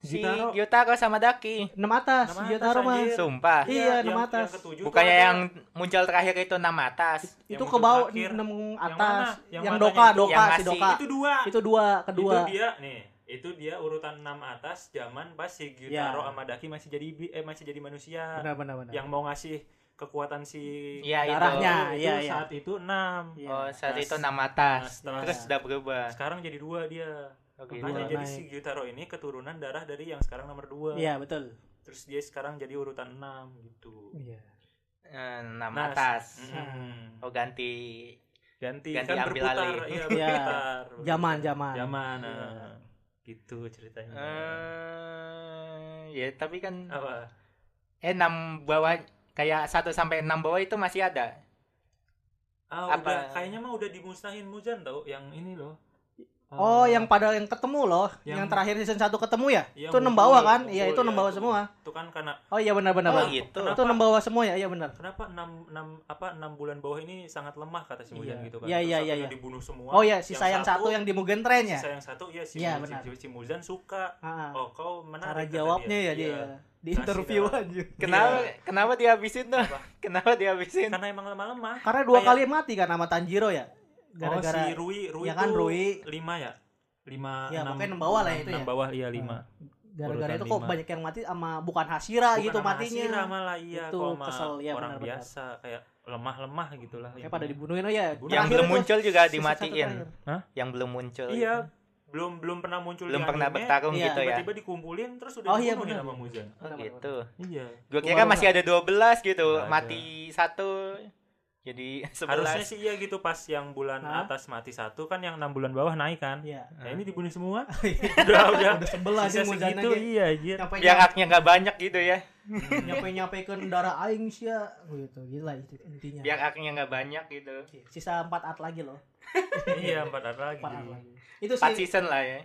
C: Si
A: Gyutaro.
C: Gyutaro sama Daki.
B: enam atas
A: Enam
B: dia
A: atas,
B: taruh mah
A: anjir.
C: Sumpah.
B: Iya, enam
A: yang-
B: atas.
A: Yang ketujuh
C: Bukannya
A: tuh ada
C: yang muncul terakhir itu enam atas.
B: itu
A: muncul
B: ke bawah
A: terakhir.
B: enam
A: Yang
B: atas
A: mana? Yang
B: yang
A: matanya
B: doka
A: itu,
B: doka
C: yang
B: si
C: ngasih.
B: doka
A: itu dua.
B: itu dua
A: Itu
B: kedua
A: dia nih. Itu dia urutan 6 atas zaman pas si Gyutaro
B: Ya.
A: sama Daki masih jadi ibli- eh masih jadi manusia.
B: benar benar benar
A: Yang mau ngasih kekuatan si
C: Iya, itu.
B: Darahnya.
A: Gyutaro itu
B: iya, iya.
A: saat itu 6.
B: Iya.
C: Oh, saat
A: Atas.
C: itu enam
A: Nah,
C: atas.
A: setelah-
C: Terus sudah berubah. Oh, gitu.
A: Sekarang jadi dua dia.
C: Oke,
A: Makanya
B: Dua
A: jadi
B: naik.
A: si Gyutaro ini keturunan darah dari yang sekarang nomor 2.
B: iya betul
A: Terus dia sekarang jadi urutan 6 gitu.
B: iya
C: Eh, enam
A: Nah,
C: atas.
A: Mm-mm.
C: Oh, ganti
A: Hmm. Ganti,
C: Ganti
A: kan
C: ambil
A: berputar, iya
C: alih.
B: Nah. Iya.
A: berputar.
B: zaman zaman
A: Zaman.
B: Iya.
A: nah. Gitu ceritanya.
C: eh ya tapi kan
A: Apa?
C: eh enam bawah kayak 1 sampai 6 bawah itu masih ada.
A: Ah,
C: Apa?
A: udah kayaknya mah udah dimusnahin Muzan tau yang ini loh.
B: Oh,
A: Eh,
B: yang pada yang ketemu loh,
A: Yang-
B: yang, terakhir season 1 ketemu ya?
A: Iya,
B: itu enam
A: ngumpul,
B: bawah kan?
A: ngumpul,
B: Iya, itu enam
A: iya,
B: bawah
A: itu.
B: semua.
A: itu kan karena
B: Oh iya benar benar.
C: Oh,
B: Bang.
C: gitu.
B: Itu enam bawah semua ya? Iya benar.
A: kenapa 6 6 apa 6 bulan bawah ini sangat lemah kata si Muzan
B: Iya.
A: gitu kan.
B: Iya, iya,
A: Terus
B: iya,
A: satunya
B: iya.
A: dibunuh semua.
B: Oh iya, sisa yang, satu yang di Mugen Train ya?
A: sisa yang satu ya si, Mu-
B: Iya, benar.
A: si, si Muzan suka.
B: Ah, ah.
A: Oh, kau
B: Cara
A: menarik kata
B: jawabnya ya dia.
A: Iya.
B: Di
A: Kasih
B: interview
A: dah.
B: aja.
C: Kenapa kenapa dihabisin tuh?
A: Apa? Kan
C: Kenapa dihabisin?
A: Karena emang lemah-lemah.
B: Karena
A: Kayak-
B: dua kali mati kan sama Tanjiro ya?
A: oh, si
B: Gara-gara
A: Rui, Rui
B: ya
A: tuh
B: kan, Rui.
A: lima ya? Lima,
B: Ya,
A: enam,
B: pokoknya enam bawah lah
A: enam-
B: itu
A: enam
B: ya.
A: bawah, iya lima.
B: gara-gara
A: urutan
B: itu kok
A: lima.
B: banyak yang mati sama bukan Hashira
A: Bukan
B: gitu
A: sama
B: matinya.
A: Hashira malah, iya,
B: Itu
A: kok sama
B: kesel, iya,
A: orang
B: benar-benar.
A: biasa kayak lemah-lemah gitulah.
B: Kayak pada dibunuhin oh ya.
A: Dibunuh.
C: Yang
B: terakhir
C: belum
B: itu,
C: muncul juga
B: season satu
C: dimatiin.
B: terakhir.
C: Yang belum muncul.
A: Iya, belum belum pernah muncul
C: gitu Belum
A: di
C: pernah
A: anime,
C: bertarung
B: Iya,
C: gitu ya.
A: Tiba-tiba dikumpulin terus udah
B: Oh, iya,
A: dibunuhin
B: benar.
A: sama Muzan.
C: Oh,
B: Benar, benar,
C: gitu.
A: Iya.
C: Gue kira
B: Waduh,
C: masih ada 12 gitu,
A: Nggak ada.
C: mati satu jadi 11.
A: Harusnya sih iya gitu pas yang bulan
B: Hah?
A: atas mati satu kan yang enam bulan bawah naik kan.
B: Iya.
A: Nah, ini dibunuh semua. udah udah.
B: Udah sebelah
A: Sisa
B: sih Muzannya
A: segitu
B: ge.
A: iya anjir.
B: Nyampe-
C: biar haknya nggak banyak gitu ya.
B: nyampe nyampe ke darah aing sih ya gitu gila itu intinya
C: Biar haknya nggak banyak gitu.
B: sisa empat at lagi loh
A: iya, empat art lagi.
B: empat at lagi itu
C: 4
B: sih
C: season lah ya.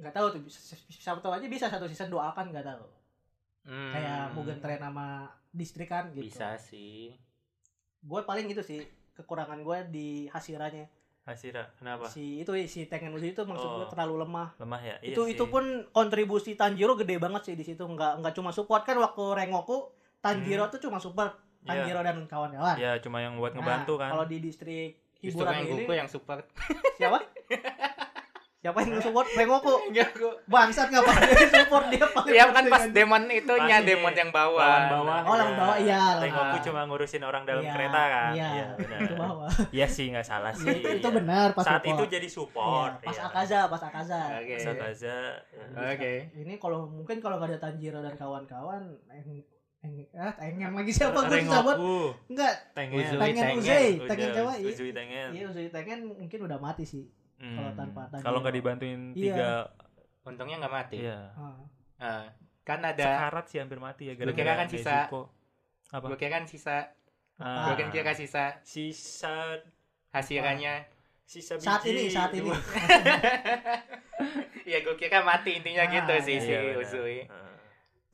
B: nggak tahu tuh bisa- siapa tahu aja bisa satu season doakan nggak tahu
C: Hmm,
B: kayak Mugen Train sama distrik kan gitu
C: Bisa sih.
B: gue paling gitu sih kekurangan gue di hasiranya
A: Hashira kenapa
B: si itu si Tengen Uji itu maksud
A: Oh.
B: gue terlalu lemah
A: lemah ya iya
B: itu
A: sih.
B: itu pun kontribusi Tanjiro gede banget sih di situ nggak nggak cuma support kan waktu
C: Hmm.
B: Rengoku Tanjiro tuh cuma support
C: Iya.
B: Tanjiro dan kawan-kawan
A: ya Iya. cuma yang buat ngebantu
B: Nah,
A: kan
B: kalau di distrik
C: Justru
B: hiburan ini
C: Rengoku yang support.
B: siapa siapa yang support Rengoku
C: Enggak, aku.
B: bangsat nggak pernah dia support dia paling
C: Iya kan
B: penting
C: pas
B: aja.
C: demon itunya,
A: Pasti.
C: demon yang Nah,
A: lawan
C: bawah.
A: bawah
B: Oh, lawan bawah, iya, lawan
A: Rengoku
B: bawah.
A: cuma ngurusin orang dalam
B: Iya,
A: kereta kan
B: iya,
A: benar
B: ke bawah
A: iya sih nggak salah sih
B: itu, itu
A: iya.
B: benar pas
A: saat itu
B: support.
A: jadi
B: Iya,
A: support
B: pas
A: iya.
B: Akaza pas Akaza
C: Oke.
A: saat aja ya.
C: Oke.
B: ini kalau mungkin kalau nggak ada Tanjiro dan kawan-kawan eng eng ah tengen lagi siapa gue susah buat
A: Rengoku
B: enggak
A: tengen
C: Uzui,
B: Tengen
C: Tengen.
B: Uzui Tengen
A: Udah,
B: coba iya
A: Uzui tengen
B: iya Uzui Tengen mungkin udah mati sih
A: Hmm.
B: kalau tanpa Tanjiro.
A: kalau nggak dibantuin
B: Iya.
A: tiga
C: Untungnya nggak mati.
A: iya
B: Ah.
C: Ah, kan ada,
A: sekarat sih hampir mati ya
C: Gua kira kan sisa-
A: Nezuko. apa
C: gue kira kan sisa,
A: Ah.
C: gue kan kira sisa
A: sisa
C: hasirannya.
A: sisa biji
B: saat ini saat ini
C: Iya gue kira mati intinya
B: Ah,
C: gitu sih
B: iya,
C: si
A: benar. Ah.
C: Uzui.
A: Heeh.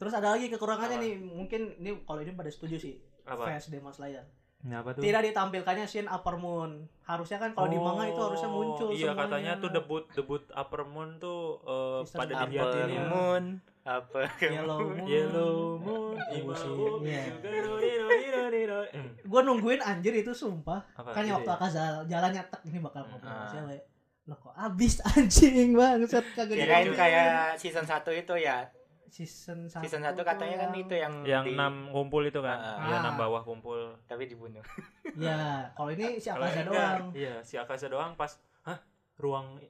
B: terus ada lagi kekurangannya
A: Apa?
B: nih mungkin ini kalau ini pada setuju sih
A: apa
B: fans Demon Slayer
A: Kenapa tuh
B: tidak ditampilkannya scene Upper Moon harusnya kan kalau di manga itu harusnya
A: Oh,
B: muncul
A: iya
B: semuanya.
A: katanya tuh debut debut Upper Moon tuh eh,
B: Sistem
A: pada
B: Upper
A: dilihatin ya.
C: moon, apa?
B: Yellow Moon
A: Yellow Moon
B: Iya sih,
A: Imao
B: iya.
A: Mitsugaro, Niro, Niro, Niro. Hmm,
B: gue nungguin anjir itu sumpah
A: apa
B: kan
A: gitu ya?
B: waktu
A: Hmm.
B: Akaza jalan nyetek ini bakal ngomong sama
C: Ah.
B: siapa ya Loh kok abis anjing banget kagak
C: Kirain
B: diunjukin.
C: kayak season 1 itu ya.
B: season 1
C: Season 1 katanya kan itu yang
A: yang
C: di-
A: enam kumpul itu kan
C: Ah.
A: ya enam bawah kumpul
C: tapi dibunuh.
B: ya kalau ini si
A: Kalau
B: Akaza
A: ini enggak,
B: doang
A: iya si Akaza doang pas hah ruang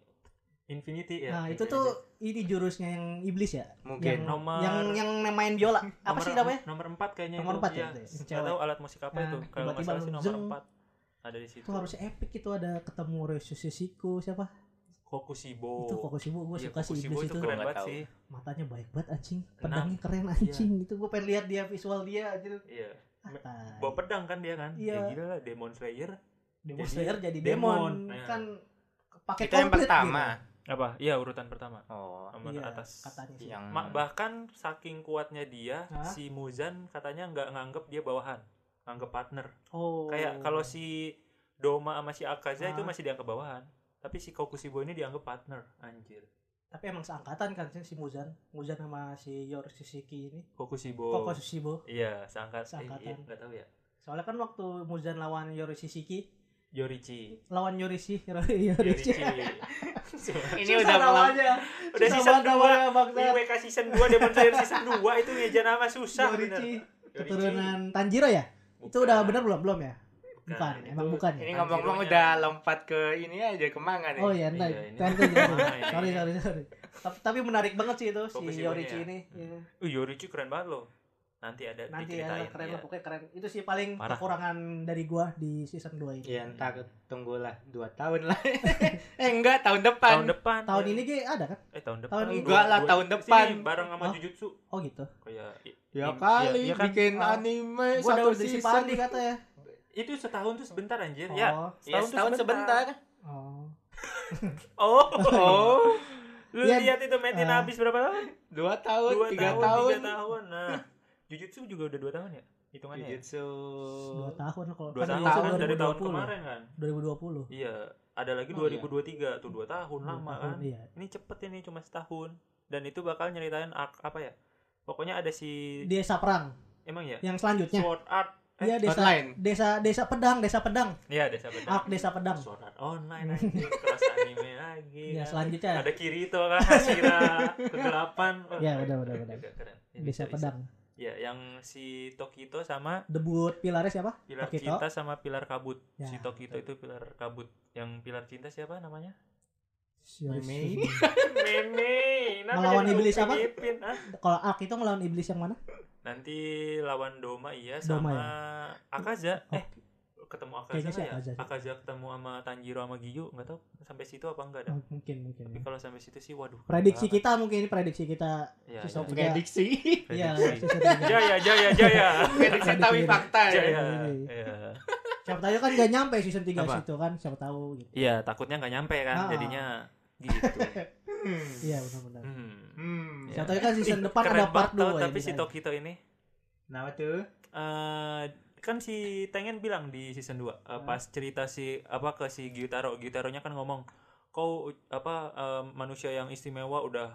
A: Infinity ya
B: nah itu tuh ini jurusnya yang iblis ya yang
C: Mungkin.
A: Nomor-
B: yang yang main biola apa
A: Nomor-
B: sih namanya
A: nomor empat kayaknya
B: Nomor
A: itu.
B: empat ya,
A: Iya,
B: itu ya, yang
A: nggak
B: cewek.
A: tahu alat musik apa
B: Nah,
A: itu kalau nggak
B: tiba-tiba
A: salah sih nomor
B: zeng.
A: empat ada di situ
B: itu harusnya epic itu ada ketemu Resushishiku siapa
A: Hokushibo
B: itu Kokushibo gue
A: Iya,
B: suka sih
A: Hokushibo
B: iblis itu
A: itu keren Iya.
C: Gua nggak
A: banget
C: tahu.
A: sih
B: matanya baik banget anjing
A: Enam.
B: pedangnya keren anjing itu gue pengen lihat dia visual dia anjir Ah,
A: iya
B: Tai.
A: bawa pedang kan dia kan
B: Iya.
A: ya gila lah Demon Slayer
B: Demon
A: Jadi-
B: Slayer jadi
A: Demon.
B: demon,
A: Nah.
B: kan pakai
C: Itu yang
B: komplit gitu.
C: pertama.
A: apa iya urutan pertama
C: Oh,
A: nomor
B: Iya,
A: atas Hmm.
B: katanya sih.
C: yang
A: Ma- bahkan saking kuatnya dia
B: Hah?
A: si Muzan katanya nggak nganggep dia bawahan nganggep partner
B: Oh.
A: kayak kalau si Doma sama si Akaza itu
B: Hah?
A: masih dianggap bawahan tapi si Kokushibo ini dianggap partner anjir
B: tapi emang seangkatan kan sih si Muzan, Muzan sama si Yor Suzuki ini.
A: Kokushibo
B: Koko Sushibo.
A: iya seangkat eh,
B: Seangkatan.
A: iya, nggak tahu ya
B: Soalnya kan waktu Muzan lawan Yor Suzuki,
A: Yorichi
B: lawan Yorishi, Yorishi.
A: Yorichi
C: ini udah melam-
B: aja.
A: udah season
B: season
A: 2 IWK season 2 Demon Slayer season 2 itu ngejar nama susah bener
B: Yorishi.
A: Yorichi.
B: Keturunan Tanjiro ya? Itu
A: Bukan.
B: udah benar belum belum ya? Bukan,
A: itu-
B: emang bukan. ya?
C: Ini ngomong-ngomong udah lompat ke ini aja ke manga nih.
B: Oh iya, entar.
A: Iya, ini-
B: Tentu gitu.
A: Nah,
B: Sorry,
A: ini.
B: sorry, sorry. Tapi, tapi menarik banget sih itu
A: Fokus ibunya
B: si Yorichi
A: ya?
B: ini.
A: Hmm.
B: Iya.
A: Uh, Yorichi keren banget loh. Nanti ada
B: Nanti ya,
A: diceritain.
B: keren
A: iya.
B: lah pokoknya keren. Itu sih paling
A: Parah. Iya.
B: kekurangan dari gua di season 2 ini.
C: Ya ntar tunggulah 2 tahun lah. eh enggak, tahun depan.
A: Tahun depan.
B: Tahun
A: ya.
B: ini ge ada kan?
A: eh tahun depan.
B: tahun ini.
C: Enggak lah,
A: Dua-
C: tahun
A: sini,
C: depan.
A: bareng sama
B: Hah?
A: Jujutsu.
B: Oh gitu.
A: Kayak i-
C: Ya
A: i-
C: kali
A: iya, iya kan?
C: bikin
B: Ah.
C: anime
B: Gua
C: satu
B: daun di
C: season.
B: Sipandi kata ya.
A: Itu setahun tuh sebentar anjir.
B: Oh.
A: Ya.
C: Ya
A: Setahun tuh
C: setahun sebentar.
B: Oh.
A: Oh.
C: Oh,
A: Lu
B: Ya,
A: lihat itu Metin
B: ah. Oh,
A: habis berapa tahun?
C: 2 tahun,
A: Dua
C: 3
A: tahun,
C: tahun.
A: tiga tahun. Nah, Jujutsu juga udah dua tahun ya? Hitungannya. ya?
C: Jujutsu.
B: Dua tahun kalau
A: Dua
B: kan
A: tahun,
B: Yusuf
A: dari tahun
B: 2020.
A: kemarin kan.
B: 2020.
A: Iya, ada lagi
C: Oh,
A: 2023 tuh dua tahun
B: Dua
A: lama
B: tahun,
A: kan.
B: Iya.
A: Ini cepet ini cuma setahun. Dan itu bakal nyeritain arc apa ya? Pokoknya ada si
B: Desa perang
A: emang ya?
B: yang selanjutnya.
A: Sword Art Eh,
B: Iya, desa
C: Hotline.
B: desa desa pedang, desa pedang.
A: Iya, desa pedang.
B: Ark desa pedang.
A: Sword Art Online anjing, kelas anime lagi.
B: Iya,
A: kan.
B: selanjutnya.
A: Ada Kirito kan, Hashira, kegelapan. Wah,
B: Iya,
A: keren.
B: udah, udah, udah.
A: Juga keren. Ini
B: Desa
A: bisa-
B: pedang.
A: Iya, yang si Tokito sama
B: Debut pilarnya siapa?
A: Pilar
B: Tokito.
A: Cinta sama Pilar Kabut.
B: Ya,
A: si Tokito itu Pilar Kabut. Yang Pilar Cinta siapa namanya?
B: Yorishi.
A: Meme. Kenapa
B: Melawan
A: jadi
B: iblis apa?
A: ngipin, ah?
B: Kalau Ark itu ngelawan iblis yang mana?
A: Nanti lawan Doma iya sama
B: Doma, ya? Oh.
A: Akaza. Eh, ketemu Akaza
B: Kayaknya sih
A: nggak ya?
B: Akaza sih.
A: Akaza ketemu sama Tanjiro sama Giyu, nggak tahu sampai situ apa enggak ada.
B: Oh, mungkin mungkin.
A: Tapi
B: ya.
A: kalau sampai situ sih waduh. keren
B: Prediksi
A: banget.
B: kita mungkin ini prediksi kita
A: Ya,
B: si
A: ya.
B: Sob juga.
C: Prediksi.
B: Iya,
A: Prediksi.
B: season tiga.
A: Jaya jaya jaya.
C: Prediksi tapi
B: Prediksi.
C: fakta ya.
A: jaya.
B: Iya.
A: Iya.
B: Siapa tahu kan gak nyampe season 3
A: Apa?
B: situ kan, siapa tahu gitu.
A: Iya, takutnya nggak nyampe kan
B: Ah.
A: jadinya gitu.
C: Hmm.
B: Iya, benar-benar.
A: Hmm.
C: Hmm.
A: Ya.
B: Siapa tahu kan season
A: Ih,
B: depan
A: keren
B: ada part
A: banget tau,
B: 2
A: tapi si Tokito ini
C: Kenapa tuh?
A: eh kan si Tengen bilang di season 2
B: Hmm.
A: pas cerita si apa ke si Gyutaro, Gyutaronya kan ngomong, "Kau apa eh, manusia yang istimewa udah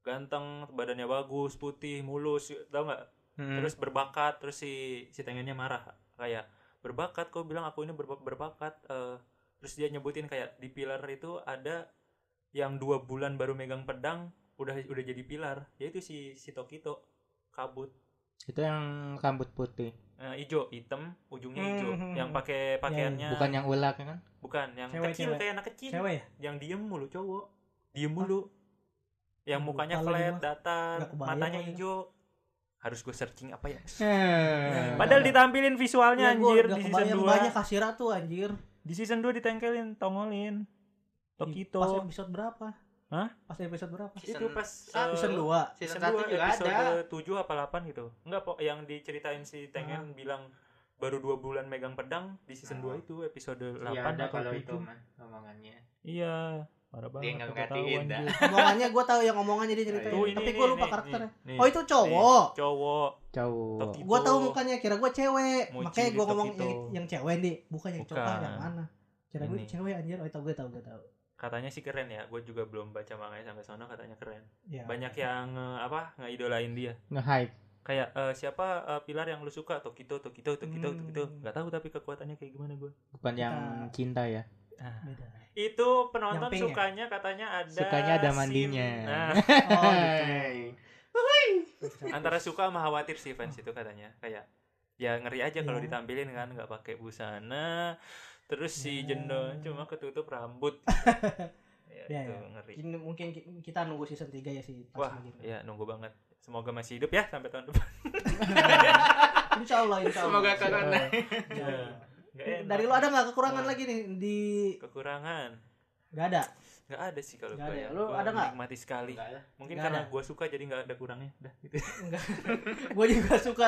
A: ganteng, badannya bagus, putih, mulus, tau nggak?
C: Hmm.
A: Terus berbakat, terus si si Tengennya marah kayak berbakat kau bilang aku ini berba- berbakat eh." terus dia nyebutin kayak di pilar itu ada yang dua bulan baru megang pedang udah udah jadi pilar yaitu si si Tokito kabut
E: Itu yang rambut putih,
A: eh, ijo hitam ujungnya hijau
C: Hmm.
A: yang pakai pakaiannya
E: bukan yang ular
C: Eh.
E: kan?
A: bukan yang
B: Cewek,
A: kecil
B: cewek.
A: kayak anak kecil
B: cewek ya
A: yang diem mulu cowok diem mulu yang
B: Aduh,
A: mukanya
B: lupa lagi
A: flat
B: gua.
A: datar
B: Nggak kebayang
A: matanya
B: lagi.
A: hijau harus gue searching apa ya
E: Eh.
A: padahal ditampilin visualnya
B: Iya, gua
A: anjir
B: udah
A: di season 2
B: kebayang banyak kasira tuh anjir
A: di season 2 ditengkelin tongolin
B: Ih,
A: Tokito
B: pas episode berapa
A: Hah?
B: pas episode berapa
A: itu pas
C: satu.
A: eh,
B: season 2
C: season
A: dua,
C: satu juga
A: episode
C: ada. Ya,
A: 7 apa 8 gitu. Enggak, Pok. Yang diceritain si
B: Ah.
A: Tengen bilang baru dua bulan megang pedang di season
C: Oh.
A: 2 itu episode 8
C: Iya ada
A: atau
C: kalau
A: 7.
C: itu mah omongannya.
A: Iya, parah banget.
C: nggak
A: aku tahu,
C: ngertiin
A: anjir.
B: omongannya gue tahu yang omongannya dia ceritain
A: Tuh, ini,
B: tapi
A: ini,
B: gue lupa
A: ini,
B: karakternya
A: ini,
B: oh itu cowok
A: Nih, cowok.
E: Jauh.
A: Tokito.
B: gue tahu mukanya kira gue cewek
A: Mochi
B: makanya
A: Gitu.
B: gue
A: di
B: ngomong
A: Tokito.
B: yang, yang cewek nih bukan yang cowok
A: Bukan.
B: yang mana kira gue
A: Ini.
B: cewek anjir oh tau gue tau gue tau
A: Katanya sih keren ya. Gue juga belum baca manganya sampai sono katanya keren.
B: ya.
A: Banyak yang eh, apa? ngeidolain dia.
E: Nge-hype.
A: Kayak eh, siapa eh, pilar yang lu suka? Tokito, Tokito, Tokito,
B: Hmm.
A: Tokito. Nggak tahu tapi kekuatannya kayak gimana gue.
E: Bukan yang cinta ya.
B: beda
A: Itu penonton
B: Yang pink Ah. ya?
A: sukanya katanya ada
E: Sukanya ada
A: sim-
E: mandinya.
A: Nah,
B: oh gitu
A: antara suka sama khawatir sih fans itu katanya kayak ya ngeri aja kalau
B: Hmm. Iya.
A: ditampilin kan nggak pakai busana terus si
B: Ya.
A: jendol cuma ketutup rambut ya,
B: Ya,
A: itu
B: ya.
A: ngeri
B: Ini mungkin ki- kita nunggu season 3 ya sih
A: wah
B: gitu.
A: ya nunggu banget semoga masih hidup ya sampai tahun depan
B: insya Allah insya Allah
C: Semoga corona.
B: Insya Allah.
A: Nggak enak.
B: dari lu ada nggak kekurangan
A: Wah.
B: lagi nih di
A: kekurangan
B: nggak ada
A: nggak ada sih kalau gue
B: Nggak ada
A: ya
B: ya. Lu
A: Gua
B: ada nggak?
A: menikmati sekali
C: Enggak lah.
A: mungkin
B: Nggak
A: karena
B: ada.
A: gue suka jadi nggak ada kurangnya dah gitu
B: gue juga suka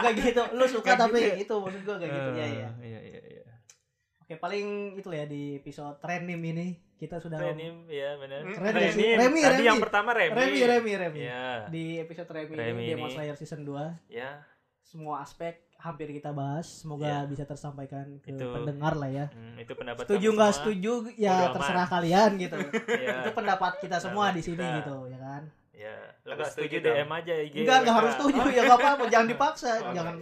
B: nggak gitu lu suka
A: Nggak
B: tapi
A: gitu.
B: itu maksud gue nggak gitu ya ya
A: Eh, iya iya iya
B: oke paling itu ya di episode trending ini kita sudah
A: Renim ya benar
B: Keren ya sih.
A: Renim.
B: Remi,
A: tadi
B: Remi.
A: yang pertama Remi
B: Remi Remi Remi
A: ya
B: di episode Remi,
A: Remi
B: ini Demon
A: ini.
B: Slayer season 2
A: ya
B: semua aspek hampir kita bahas semoga bisa tersampaikan ke
A: Iya. Itu.
B: pendengar lah ya
A: Hmm, itu pendapat
B: setuju
A: kami
B: nggak
A: semua.
B: setuju ya
A: Bodo amat.
B: terserah kalian gitu
A: ya,
B: itu pendapat kita semua
A: Pendapat
B: di sini
A: kita. Iya,
B: gitu ya kan
A: ya. Lu
C: Harus
A: nggak setuju
C: setuju
A: DM aja IG
B: enggak enggak
A: WA.
B: harus setuju ya nggak apa-apa jangan dipaksa
C: Oh,
B: jangan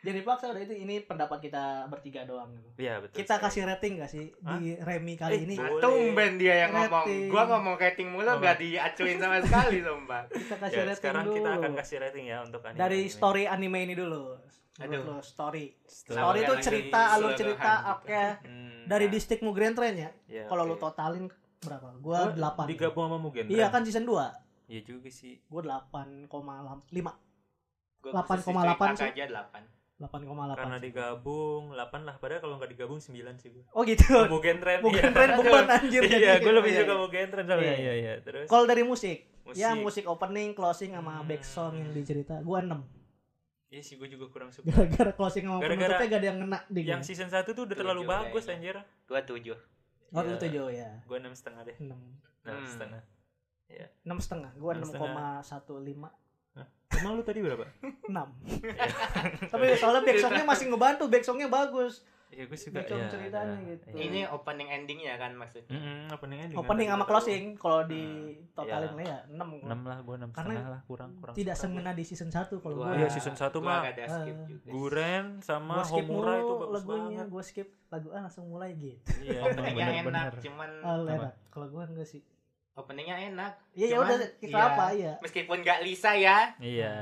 B: jangan dipaksa udah itu ini pendapat kita bertiga doang gitu
A: Iya, betul
B: kita
A: sekali.
B: kasih rating gak sih di Remi kali
A: Eh,
B: ini
A: boleh.
C: Tumben dia yang ngomong.
B: Rating.
C: Gua ngomong rating mulu
A: Ngomong.
C: nggak diacuin sama sekali sumpah.
B: kita
A: Ya,
B: kasih rating
A: sekarang
B: dulu
A: kita akan kasih rating ya untuk anime
B: dari
A: anime.
B: story anime ini dulu
C: Aduh.
B: Menurut lo, story
A: Story.
B: story itu
C: Lagi
B: cerita
C: keseluruhan
B: alur cerita
C: gitu.
B: apa
A: Hmm,
B: dari
A: nah,
B: distrikmu Grand Train ya
A: ya,
B: kalau
A: oke.
B: lu totalin berapa
A: Oh,
B: gua 8
A: digabung sama Mugen
B: iya
A: Train.
B: kan season 2
A: iya juga sih
B: gua 8,5 8,8
C: Gua
B: 8,8
C: khusus
B: sih.
C: aja 8.
A: karena digabung 8 lah padahal kalau nggak digabung 9 sih gue
B: oh gitu
A: Mugen Train
B: Mugen
A: iya.
B: Train bukan anjir
A: iya gue lebih
B: Iya,
A: suka
B: iya.
A: Mugen Train soalnya
B: Iya.
A: iya iya terus
B: kalau dari musik
A: musik
B: ya musik opening closing sama
A: Hmm.
B: back song yang dicerita gua 6
A: iya sih gue juga kurang suka
B: gara-gara closing sama
A: Gara-gara
B: penutupnya gak ada yang ngena di
A: yang season 1 tuh
B: Iya
A: udah terlalu
C: Tujuh
A: bagus anjir
C: kayaknya. 27.
B: oh
A: Iya.
B: itu jauh ya
A: gue enam setengah deh
B: 6
A: enam
C: Hmm.
A: setengah
B: enam setengah gua
A: Enam
B: enam koma satu lima
A: emang lu tadi berapa
B: enam tapi soalnya back songnya masih ngebantu back songnya bagus
A: Iya gue suka
B: Background ceritanya
A: ada.
B: gitu.
A: Iya.
C: Ini opening endingnya kan maksudnya.
A: Mm-mm, opening ending.
B: opening
A: Ada
B: sama
A: juga.
B: closing kalau di totalin
A: Iya.
B: lah ya enam gua.
A: Enam lah gue enam
B: Karena
A: setengah lah kurang kurang. ya.
B: tidak
A: kurang.
B: sengena di season 1 kalau
C: Gua-
B: gua
A: Iya, season satu
C: gua
A: mah.
C: rada skip
B: Eh,
C: juga.
A: Guren sama
B: gua skip
A: Homura
B: mulu
A: itu bagus
B: lagunya
A: banget.
B: gua skip lagu ah langsung mulai gitu
A: Iya,
C: Openingnya enak,
A: benar-benar.
C: cuman
B: ah enak kalau gua enggak sih
C: openingnya enak.
B: iya ya
C: Cuman,
B: udah kita
C: iya.
B: apa ya
C: Meskipun gak Lisa ya,
A: Iya.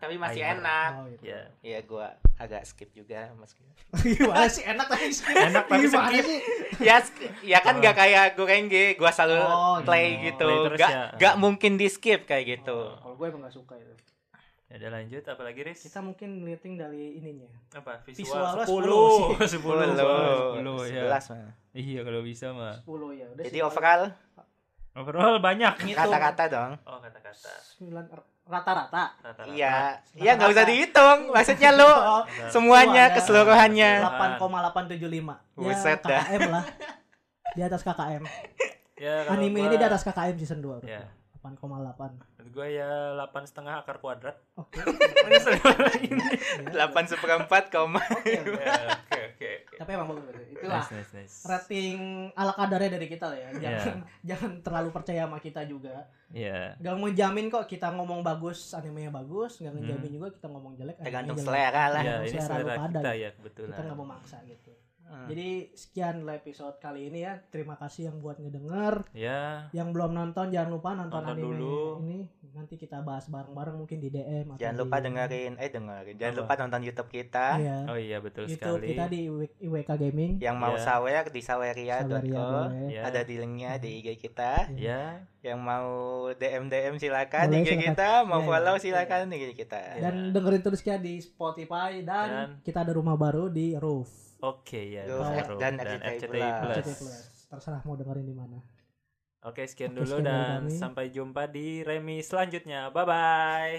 C: tapi masih
A: Ayo.
C: enak.
B: Oh, gitu.
A: Iya.
C: Iya, gua agak skip juga meskipun.
B: Gimana sih enak tapi skip.
A: Enak tapi
B: Gimana
A: skip.
B: sih?
C: ya sk- ya kan gak kayak gorengge gua selalu
B: Oh,
C: play
B: iya.
C: gitu
A: Ah. Play terus
C: gak
A: ya.
C: gak mungkin di skip kayak gitu
A: Oh,
B: Kalau gue emang gak suka itu.
A: Ada lanjut apalagi Riz?
B: Kita mungkin rating dari ininya.
A: apa?
B: visual
A: Visual,
B: lo
A: 10. 10.
C: 10,
B: iya.
A: 10 ya.
C: 11 mah.
A: Iya kalau bisa mah.
B: 10 ya. Udah
C: jadi
B: sih, kalau
C: overall
A: Overall banyak.
B: ngitung
C: kata-kata dong
A: Oh kata-kata.
B: 9 r- rata-rata.
A: Rata-rata.
C: iya
B: Rata-rata.
C: iya nggak usah dihitung maksudnya lo semuanya
B: Semuanya.
C: keseluruhannya
B: 8,875.
C: Buset dah.
B: KKM lah. Di atas KKM.
A: Ya, kalau
B: Anime
A: gua-
B: ini di atas KKM season 2.
A: Ya.
B: 8,8.
A: Menurut gue ya 8 setengah akar kuadrat.
B: Oke. Ya,
C: delapan seperempat koma
B: oke, oke.
A: Ya, Oke oke. oke.
B: Tapi emang bagus bagus. Itulah
A: Nice nice nice.
B: rating ala kadarnya dari kita lah ya. Jangan jangan terlalu percaya sama kita juga.
A: Iya.
B: Gak menjamin kok kita ngomong bagus animenya bagus, gak ngejamin
A: Hmm.
B: juga kita ngomong jelek. animenya
C: tergantung
B: jelek.
C: selera lah
A: Ya,
B: Emang
A: ini
B: selera lu
A: selera
B: pada
A: kita
B: gitu.
A: ya
B: Kita nggak
A: kebetulan.
B: memaksa gitu.
C: Hmm.
B: Jadi sekian lah episode kali ini ya. Terima kasih yang buat ngedenger,
A: Ya,
B: yang belum nonton jangan lupa
A: Nonton
B: nonton, anime
A: dulu.
B: ini. Nanti kita bahas bareng-bareng mungkin di DM atau
C: jangan
B: di-
C: lupa dengerin ya. eh dengerin jangan
A: Apa?
C: lupa nonton YouTube kita
B: Iya.
A: oh iya betul
B: YouTube
A: sekali.
B: kita di IW- IWK Gaming.
C: yang mau
A: Ya.
C: sawer di saweria.co
B: Iya. boleh. Iya.
A: Ya.
C: ada di linknya di IG kita
A: Ya,
C: yang mau DM DM silakan di
B: Boleh,
C: IG
B: silakan.
C: kita mau
B: Ya, ya.
C: follow silakan di IG kita
A: Ya.
B: Dan dengerin terus kita di Spotify dan,
A: Dan-
B: kita ada rumah baru di Roof.
A: oke ya.
C: Go
A: baru.
C: dan RCTI Plus.
B: RCTI Plus. Terserah mau dengerin di mana.
A: Oke, sekian
B: Oke,
A: dulu
B: sekian dari
A: dan
B: kami.
A: sampai jumpa di Remi selanjutnya. Bye bye.